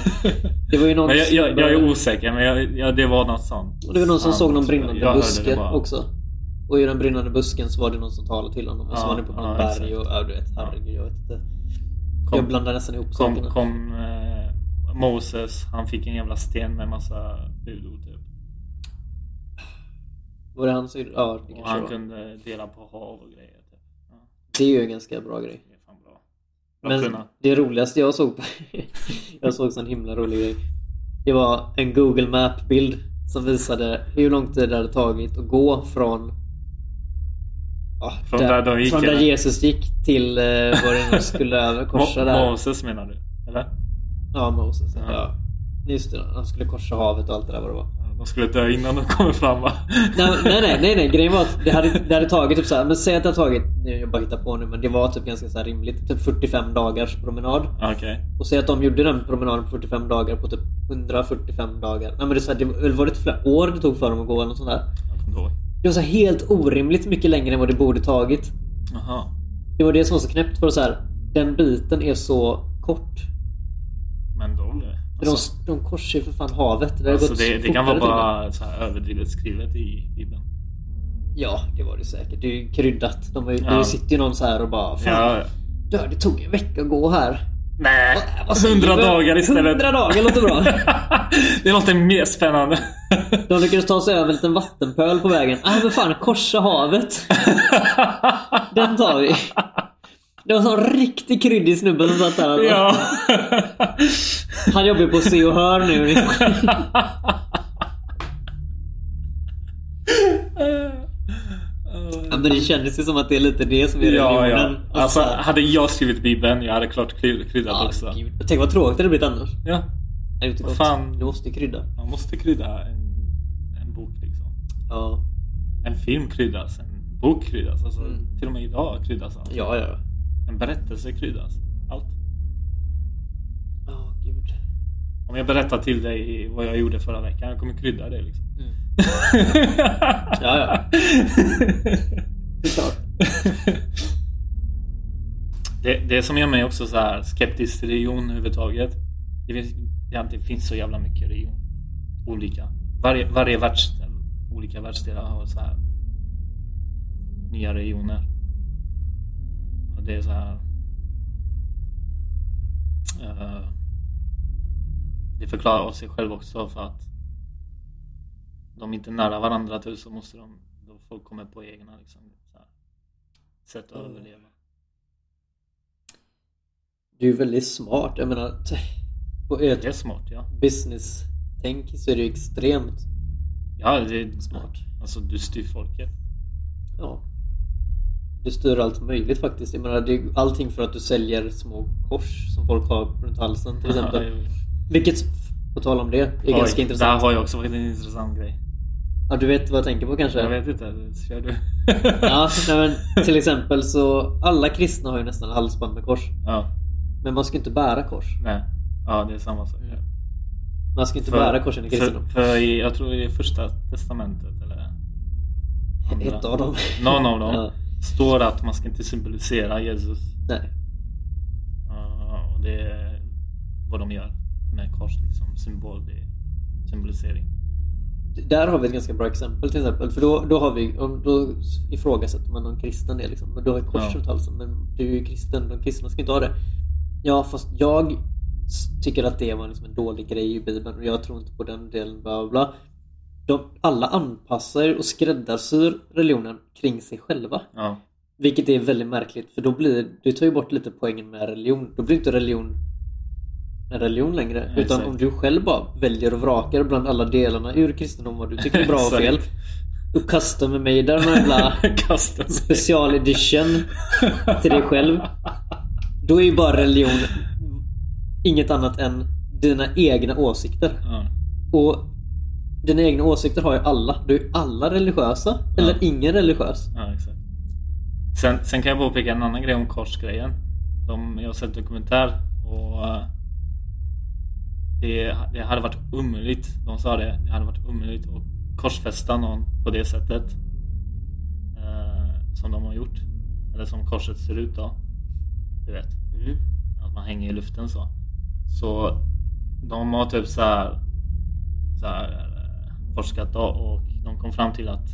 S3: Det var ju någon,
S2: Men jag, jag, jag är osäker, men jag, jag, det var något sånt.
S3: det var någon som
S2: Sant,
S3: såg någon
S2: tror jag.
S3: brinnande
S2: typ, Jag hörde det
S3: buske
S2: bara.
S3: också. Och i den brinnande busken så var det någon som talade till honom. Och så
S2: Ja,
S3: var det på något
S2: ja,
S3: berg
S2: exakt.
S3: och ja, du vet, herregud, jag vet inte.
S2: Kom-
S3: jag blandar nästan ihop
S2: Kom,
S3: sakerna.
S2: kom eh, Moses, han fick en jävla sten med massa budord typ.
S3: Var det han som gjorde- Ja, det
S2: Och
S3: kanske det
S2: han
S3: var.
S2: kunde dela på hav och grejer. Typ. Ja,
S3: Det är ju en ganska bra grej.
S2: det är fan bra. Bra
S3: Men
S2: kunnat.
S3: det roligaste jag såg på, Jag såg en himla rolig grej. Det var en Google Map-bild som visade hur lång tid det hade tagit att gå från ja,
S2: Från där de gick,
S3: från där
S2: eller?
S3: Jesus gick till eh, var det nu skulle över- korsa
S2: Mo-
S3: där.
S2: Moses menar du? Eller?
S3: Ja, Moses.
S2: Ja.
S3: Ja. Just det, han skulle korsa havet och allt det där vad det var.
S2: Ja, De skulle dö innan de kommer fram va?
S3: Nej, nej, nej, nej, nej. Grejen var att det hade, det hade tagit typ så här, men säg att det hade tagit, nu jag bara hittar på nu, men det var typ ganska så här rimligt. Typ 45 dagars promenad.
S2: Okej.
S3: Och säg att de gjorde den promenaden på 45 dagar på typ 145 dagar. Nej men det, är så här, det var- var det inte flera år det tog för dem att gå eller något sånt där.
S2: Jag kommer inte ihåg.
S3: Det var så här helt orimligt mycket längre än vad det borde tagit.
S2: Jaha.
S3: Det var det som var så knäppt för så här. Den biten är så kort.
S2: Men då...
S3: För
S2: Alltså,
S3: de, de korsar ju för fan havet. Det, har
S2: alltså
S3: gått
S2: det, det kan vara
S3: fortare till och med.
S2: bara så här överdrivet skrivet i Bibeln.
S3: Ja, det var det säkert. Det är ju kryddat. De var ju,
S2: Ja.
S3: Det sitter ju någon så här och bara Fan,
S2: Ja.
S3: dö, det tog en vecka att gå här.
S2: Nej,
S3: Vad- vad säger
S2: 100
S3: du?
S2: dagar istället.
S3: 100 dagar låter bra.
S2: det låter mer spännande.
S3: De lyckades ta sig över en liten vattenpöl på vägen. Ah men fan, korsa havet. Den tar vi. Det var en sån riktig kryddig snubbe som satt där. Alltså,
S2: ja.
S3: Han jobbar ju på Se och Hör nu. Ja, men det kändes ju som att det är lite det som är
S2: ja, ja.
S3: religionen.
S2: Alltså,
S3: så här,
S2: hade jag skrivit Bibeln, jag hade klart kry- kryddat
S3: ja,
S2: också.
S3: gud. Tänk vad tråkigt det hade blivit annars.
S2: Ja,
S3: Det är inte
S2: Vad
S3: gott.
S2: fan.
S3: Du måste ju krydda.
S2: man måste krydda en, en bok liksom.
S3: Ja,
S2: En film kryddas, en bok kryddas. Alltså,
S3: Mm.
S2: Till och med idag kryddas allt.
S3: ja, ja.
S2: En berättelse kryddas. Allt.
S3: Ja, gud.
S2: Om jag berättar till dig vad jag gjorde förra veckan, jag kommer krydda det liksom.
S3: Mm.
S2: ja,
S3: Ja, Det är klart.
S2: det, det som gör mig också så här skeptisk till religion överhuvudtaget. Det finns, ja, det finns så jävla mycket religion. Olika. Varje, varje världsdel, olika världsdelar har så här nya religioner. Och det är så här. Eh, det förklarar av sig själv också för att de är inte nära varandra tu så måste de, då folk kommer på egna liksom, så här, sätt att
S3: Mm.
S2: överleva.
S3: Det är ju väldigt smart. Jag menar, t- på ett
S2: Det är smart ja.
S3: business-tänk så är det ju extremt
S2: Ja, det är
S3: smart.
S2: Alltså du styr folket.
S3: Ja. Du styr allt möjligt faktiskt. Jag menar, det är allting för att du säljer små kors som folk har runt halsen till exempel.
S2: Ja, jo.
S3: Vilket, på tal om det, är
S2: Oj,
S3: ganska
S2: Det här
S3: intressant.
S2: har ju också varit en intressant grej.
S3: Ja, du vet vad jag tänker på kanske?
S2: Jag vet inte, kör du?
S3: Ja, nej, men till exempel så alla kristna har ju nästan halsband med kors.
S2: ja,
S3: Men man ska inte bära kors.
S2: nej. Ja, det är samma sak.
S3: Mm. Man ska inte
S2: För-
S3: bära korsen i
S2: För,
S3: kristendom.
S2: för i, jag tror i första testamentet eller andra.
S3: Ett av dem.
S2: Någon av dem
S3: Ja,
S2: står att man ska inte symbolisera Jesus.
S3: nej.
S2: Ja, och det är vad de gör med kors liksom. Symbol, det är symbolisering.
S3: Där har vi ett ganska bra exempel till exempel. För då, då, har vi, om- då ifrågasätter man någon kristen det liksom. Men du har ett kors
S2: Ja.
S3: runt halsen. Men du är ju kristen. De kristna ska inte ha det. Ja, fast jag s- tycker att det var liksom en dålig grej i Bibeln. Och jag tror inte på den delen. Bla, bla, bla. De, alla anpassar och skräddarsyr religionen kring sig själva.
S2: Ja,
S3: Vilket är väldigt märkligt. För då blir, du tar ju bort lite poängen med religion. Då blir inte religion en religion längre.
S2: Ja,
S3: utan
S2: exakt.
S3: om du själv bara väljer och vrakar bland alla delarna ur kristendom vad du tycker är bra och fel. Och kastar med mig där med jävla
S2: Kasta sig.
S3: special edition till dig själv. Då är ju bara religion inget annat än dina egna åsikter.
S2: Ja.
S3: Och dina egna åsikter har ju alla. Du är ju alla religiösa. Eller
S2: Ja.
S3: ingen religiös.
S2: Ja, exakt. Sen, sen kan jag påpeka en annan grej om korsgrejen. De, jag har sett dokumentär och eh, det, det hade varit omöjligt. De sa det. Det hade varit omöjligt att korsfästa någon på det sättet. eh, som de har gjort. Eller som korset ser ut då. Du vet.
S3: Mm.
S2: Att man hänger i luften så. Så de har typ så här, så här eh, forskat då och de kom fram till att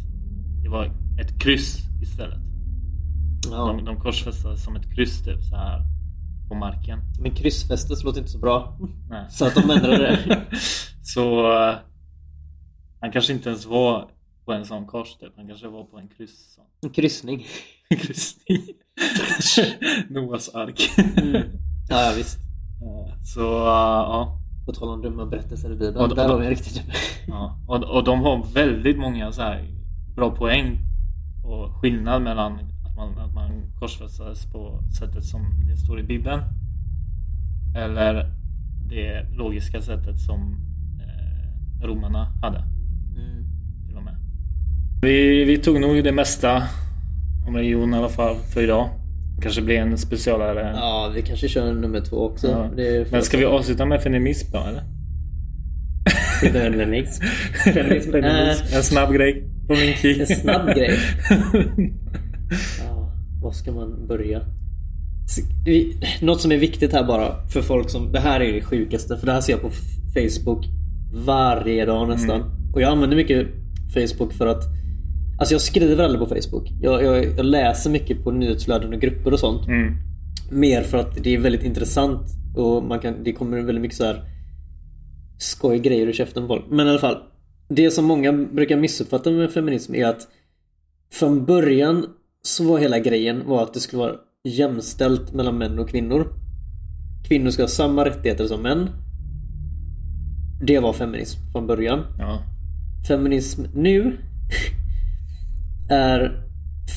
S2: det var ett kryss istället.
S3: Ja.
S2: De, de korsfästade som ett kryss typ så här på marken.
S3: Men kryssfästes låter inte så bra.
S2: Nej.
S3: Så att de ändrade det.
S2: så eh, han kanske inte ens var på en sån kors typ. Han kanske var på en kryss. Sån.
S3: En kryssning.
S2: kryssning. Noas ark.
S3: Mm. Ja, ja visst.
S2: Eh, så eh, ja.
S3: På tal om dumma berättelser i Bibeln.
S2: Och- och-
S3: Där har vi en riktigt dum.
S2: Ja, och, och de har väldigt många så här bra poäng och skillnad mellan att man, att man korsfästes på sättet som det står i Bibeln eller det logiska sättet som eh, romarna hade
S3: Mm.
S2: till och med. Vi, vi tog nog det mesta om religion i alla fall för idag. Kanske blir en specialare.
S3: Ja, vi kanske kör nummer två också.
S2: Ja.
S3: Det är
S2: Men ska vi avsluta med feminism då eller?
S3: feminism?
S2: Feminism, feminism. En snabb grej från min key.
S3: Eh, En snabb grej. Ja, var ska man börja? S- vi- Något som är viktigt här bara för folk som... Det här är det sjukaste. För det här ser jag på f- Facebook varje dag nästan. Och jag använder mycket Facebook för att... Alltså jag skriver aldrig på Facebook. Jag, jag, jag läser mycket på nyhetsflöden och grupper och sånt.
S2: Mm.
S3: Mer för att det är väldigt intressant och man kan, det kommer väldigt mycket så här skoj grejer ur käften på folk. Men i alla fall. Det som många brukar missuppfatta med feminism är att från början så var hela grejen var att det skulle vara jämställt mellan män och kvinnor. Kvinnor ska ha samma rättigheter som män. Det var feminism från början
S2: Ja.
S3: feminism nu är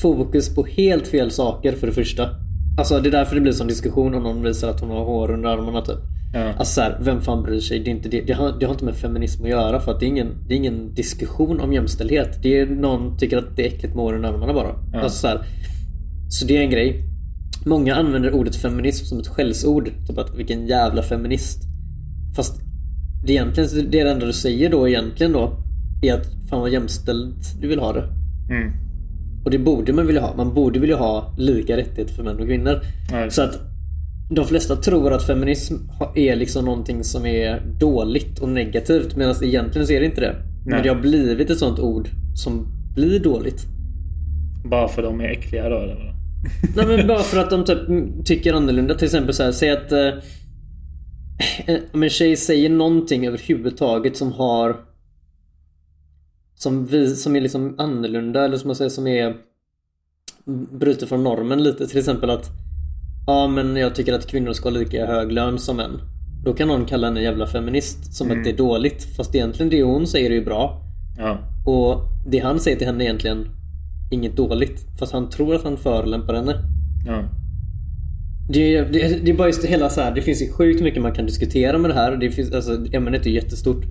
S3: fokus på helt fel saker för det första. Alltså det är därför det blir sån diskussion om någon visar att hon har hår under armarna typ.
S2: Ja.
S3: Alltså så här, vem fan bryr sig? Det, är inte, det, det, har, det har inte med feminism att göra för att det är, ingen, det är ingen diskussion om jämställdhet. Det är någon tycker att det är äckligt med hår under armarna bara.
S2: Ja.
S3: Alltså så, här, så det är en grej. Många använder ordet feminism som ett skällsord. Typ att vilken jävla feminist. Fast det, egentligen, det enda du säger då egentligen då är att fan vad jämställt du vill ha det.
S2: Mm.
S3: Och det borde man vilja ha. Man borde vilja ha lika rättigheter för män och kvinnor.
S2: Ja, just
S3: Så att de flesta tror att feminism ha- är liksom någonting som är dåligt och negativt medan egentligen så är det inte det. Men
S2: Nej.
S3: det har blivit ett sånt ord som blir dåligt.
S2: Bara för de är äckliga då eller vadå?
S3: Nej men bara för att de typ, mm, tycker annorlunda. Till exempel så här, säg att eh, eh, om en tjej säger någonting överhuvudtaget som har som, vi, som är liksom annorlunda eller som man säger som är brutet från normen lite. Till exempel att ja men jag tycker att kvinnor ska ha lika hög lön som män. Då kan någon kalla henne jävla feminist som att det är dåligt. Fast egentligen det hon säger är ju bra.
S2: Ja.
S3: Och det han säger till henne är egentligen inget dåligt. Fast han tror att han förolämpar henne.
S2: Ja.
S3: Det, är- det, det är bara just det hela så här. Det finns ju sjukt mycket man kan diskutera med det här. Det finns, alltså, ämnet är jättestort.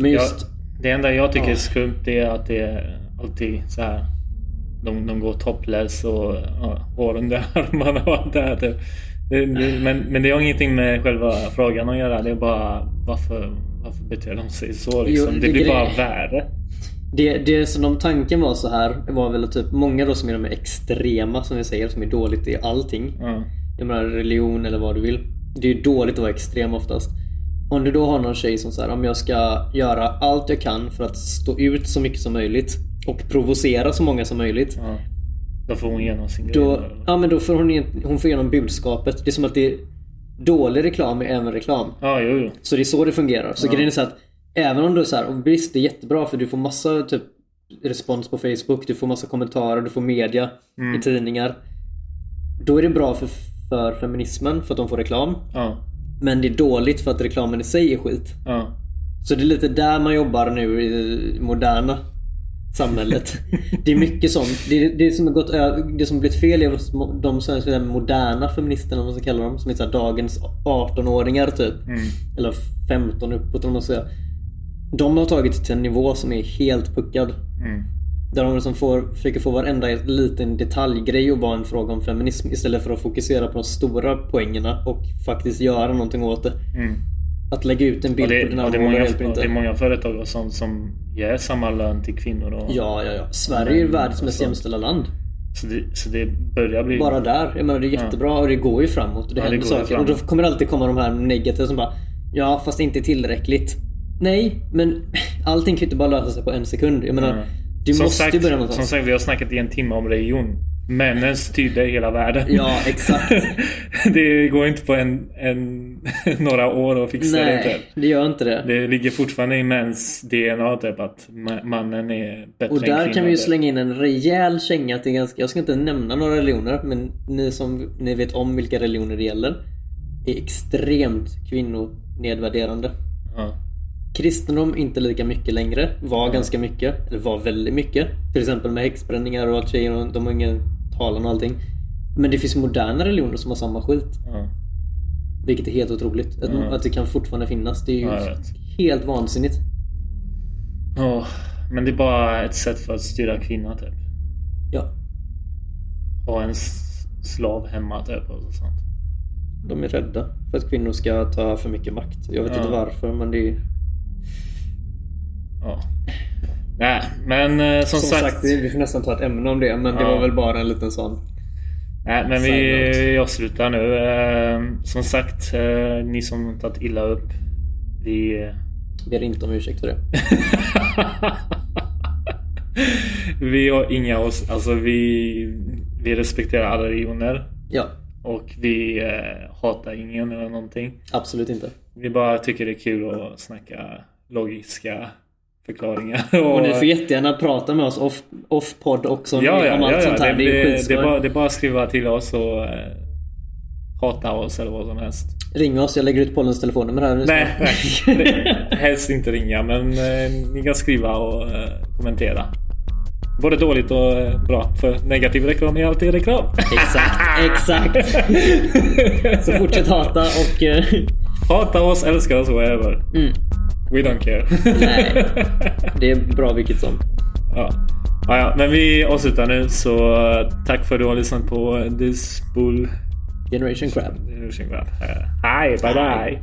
S3: Men just...
S2: Jag, det enda jag tycker
S3: Ja.
S2: är skumt det är att det är alltid så här. De, de går topless och ja, hår under armarna och allt det här. typ. Det, det, men, men det har ingenting med själva frågan att göra. Det är bara varför, varför beter de sig så? Liksom?
S3: Jo,
S2: det,
S3: det
S2: blir
S3: grej-
S2: bara värre.
S3: Det, det som de tanken var så här var väl att typ många då som är de extrema som vi säger som är dåligt i allting.
S2: Ja.
S3: Jag menar religion eller vad du vill. Det är ju dåligt att vara extrem oftast. Om du då har någon tjej som säger om jag ska göra allt jag kan för att stå ut så mycket som möjligt och provocera så många som möjligt.
S2: Ja. Då får hon igenom sin
S3: Då,
S2: grej.
S3: ja, men då får hon, egent- hon får igenom budskapet. Det är som att det är dålig reklam är även reklam.
S2: Ja, jo, jo.
S3: Så det är så det fungerar. Så grejen är så att även om du är så här, och visst det är jättebra för du får massa typ respons på Facebook, du får massa kommentarer, du får media i tidningar. Då är det bra för, för feminismen för att de får reklam.
S2: Ja,
S3: Men det är dåligt för att reklamen i sig är skit.
S2: ja.
S3: Så det är lite där man jobbar nu i det moderna samhället. det är mycket sånt. Det, det, som har gått, ö- det som har blivit fel är hos mo- de så här- så här moderna feministerna, om man ska kalla dem, som är så här dagens 18-åringar typ.
S2: Mm,
S3: Eller 15 uppåt om man ska säga. De har tagit till en nivå som är helt puckad.
S2: Mm.
S3: Där de liksom får, försöker få varenda liten detaljgrej att vara en fråga om feminism istället för att fokusera på de stora poängerna och faktiskt göra någonting åt det.
S2: Mm.
S3: Att lägga ut en
S2: Och
S3: bild
S2: det,
S3: på dina
S2: och det, är
S3: mål
S2: många,
S3: hjälper
S2: och det är många företag och sånt som ger samma lön till kvinnor. Och,
S3: Ja, ja, ja. Sverige är ju
S2: Men,
S3: världens mest
S2: alltså,
S3: jämställda land.
S2: så, det, så det börjar bli...
S3: Bara där. Jag menar, det är jättebra och det går ju framåt. Och det
S2: Ja, det
S3: händer
S2: går ju
S3: saker.
S2: framåt.
S3: Och då kommer det alltid komma de här negativa som bara Ja, fast inte tillräckligt. Nej, men allting kan ju inte bara lösa sig på en sekund. Jag menar,
S2: Nej.
S3: du
S2: som
S3: måste ju
S2: sagt,
S3: börja
S2: Som
S3: någonstans.
S2: sagt, vi har snackat i en timme om religion. Männen styrde hela världen.
S3: Ja, exakt.
S2: det går inte på en, en, några år att fixa det.
S3: Nej,
S2: Typ.
S3: det gör inte det.
S2: Det ligger fortfarande i mäns DNA typ, att ma- mannen är bättre
S3: Och
S2: än
S3: där
S2: kvinnan,
S3: kan vi ju
S2: typ.
S3: slänga in en rejäl känga till ganska... Jag ska inte nämna några religioner, men ni som ni vet om vilka religioner det gäller är extremt kvinnonedvärderande.
S2: Ja.
S3: Kristendom inte lika mycket längre. Var
S2: Mm.
S3: ganska mycket. Eller var väldigt mycket. Till exempel med häxbränningar och att tjejer och de har ingen talan och allting. Men det finns moderna religioner som har samma skit.
S2: Ja.
S3: Vilket är helt otroligt. Att,
S2: Mm.
S3: att det kan fortfarande finnas. Det är ju
S2: Ja, jag vet.
S3: helt vansinnigt.
S2: Ja, men det är bara ett sätt för att styra kvinnan typ.
S3: Ja,
S2: Ha en s- slav hemma typ och sånt.
S3: de är rädda för att kvinnor ska ta för mycket makt. Jag vet
S2: Ja.
S3: inte varför men det är
S2: Ja. Nej, men eh, som,
S3: Som sagt,
S2: sagt
S3: vi vi får nästan ta ett ämne om det. Men det
S2: Ja.
S3: var väl bara en liten sån.
S2: Nej, men vi,
S3: Side note.
S2: vi avslutar nu. Eh, Som sagt, eh, ni som tagit illa upp. Vi... eh,
S3: Ber inte om ursäkt för det.
S2: vi har inga... ås- Alltså vi, vi respekterar alla religioner.
S3: Ja,
S2: Och vi eh, hatar ingen eller någonting.
S3: absolut inte.
S2: Vi bara tycker det är kul att snacka logiska förklaringar. Och,
S3: Och ni får jättegärna prata med oss off- off-podd också om-
S2: ja, ja,
S3: om allt
S2: ja, ja.
S3: sånt här. Det,
S2: Det,
S3: är
S2: det, det,
S3: skitskoj.
S2: är bara, det är bara att skriva till oss och eh, hata oss eller vad som helst.
S3: Ring oss, jag lägger ut Pollens telefonnummer här nu.
S2: Nej, nej. Helst inte ringa, men eh, ni kan skriva och eh, kommentera. Både dåligt och eh, bra, för negativ reklam är alltid reklam.
S3: Exakt, exakt. Så fortsätt hata och... eh,
S2: Hata oss, älska oss, whatever.
S3: Mm.
S2: We don't care.
S3: Nej. Det är bra vilket som.
S2: ja. Ja, ja, men vi avslutar nu, så eh, tack för att du har lyssnat på Eh, This Bull
S3: Generation Crab.
S2: Generation Grab. Eh, Hej, bye bye.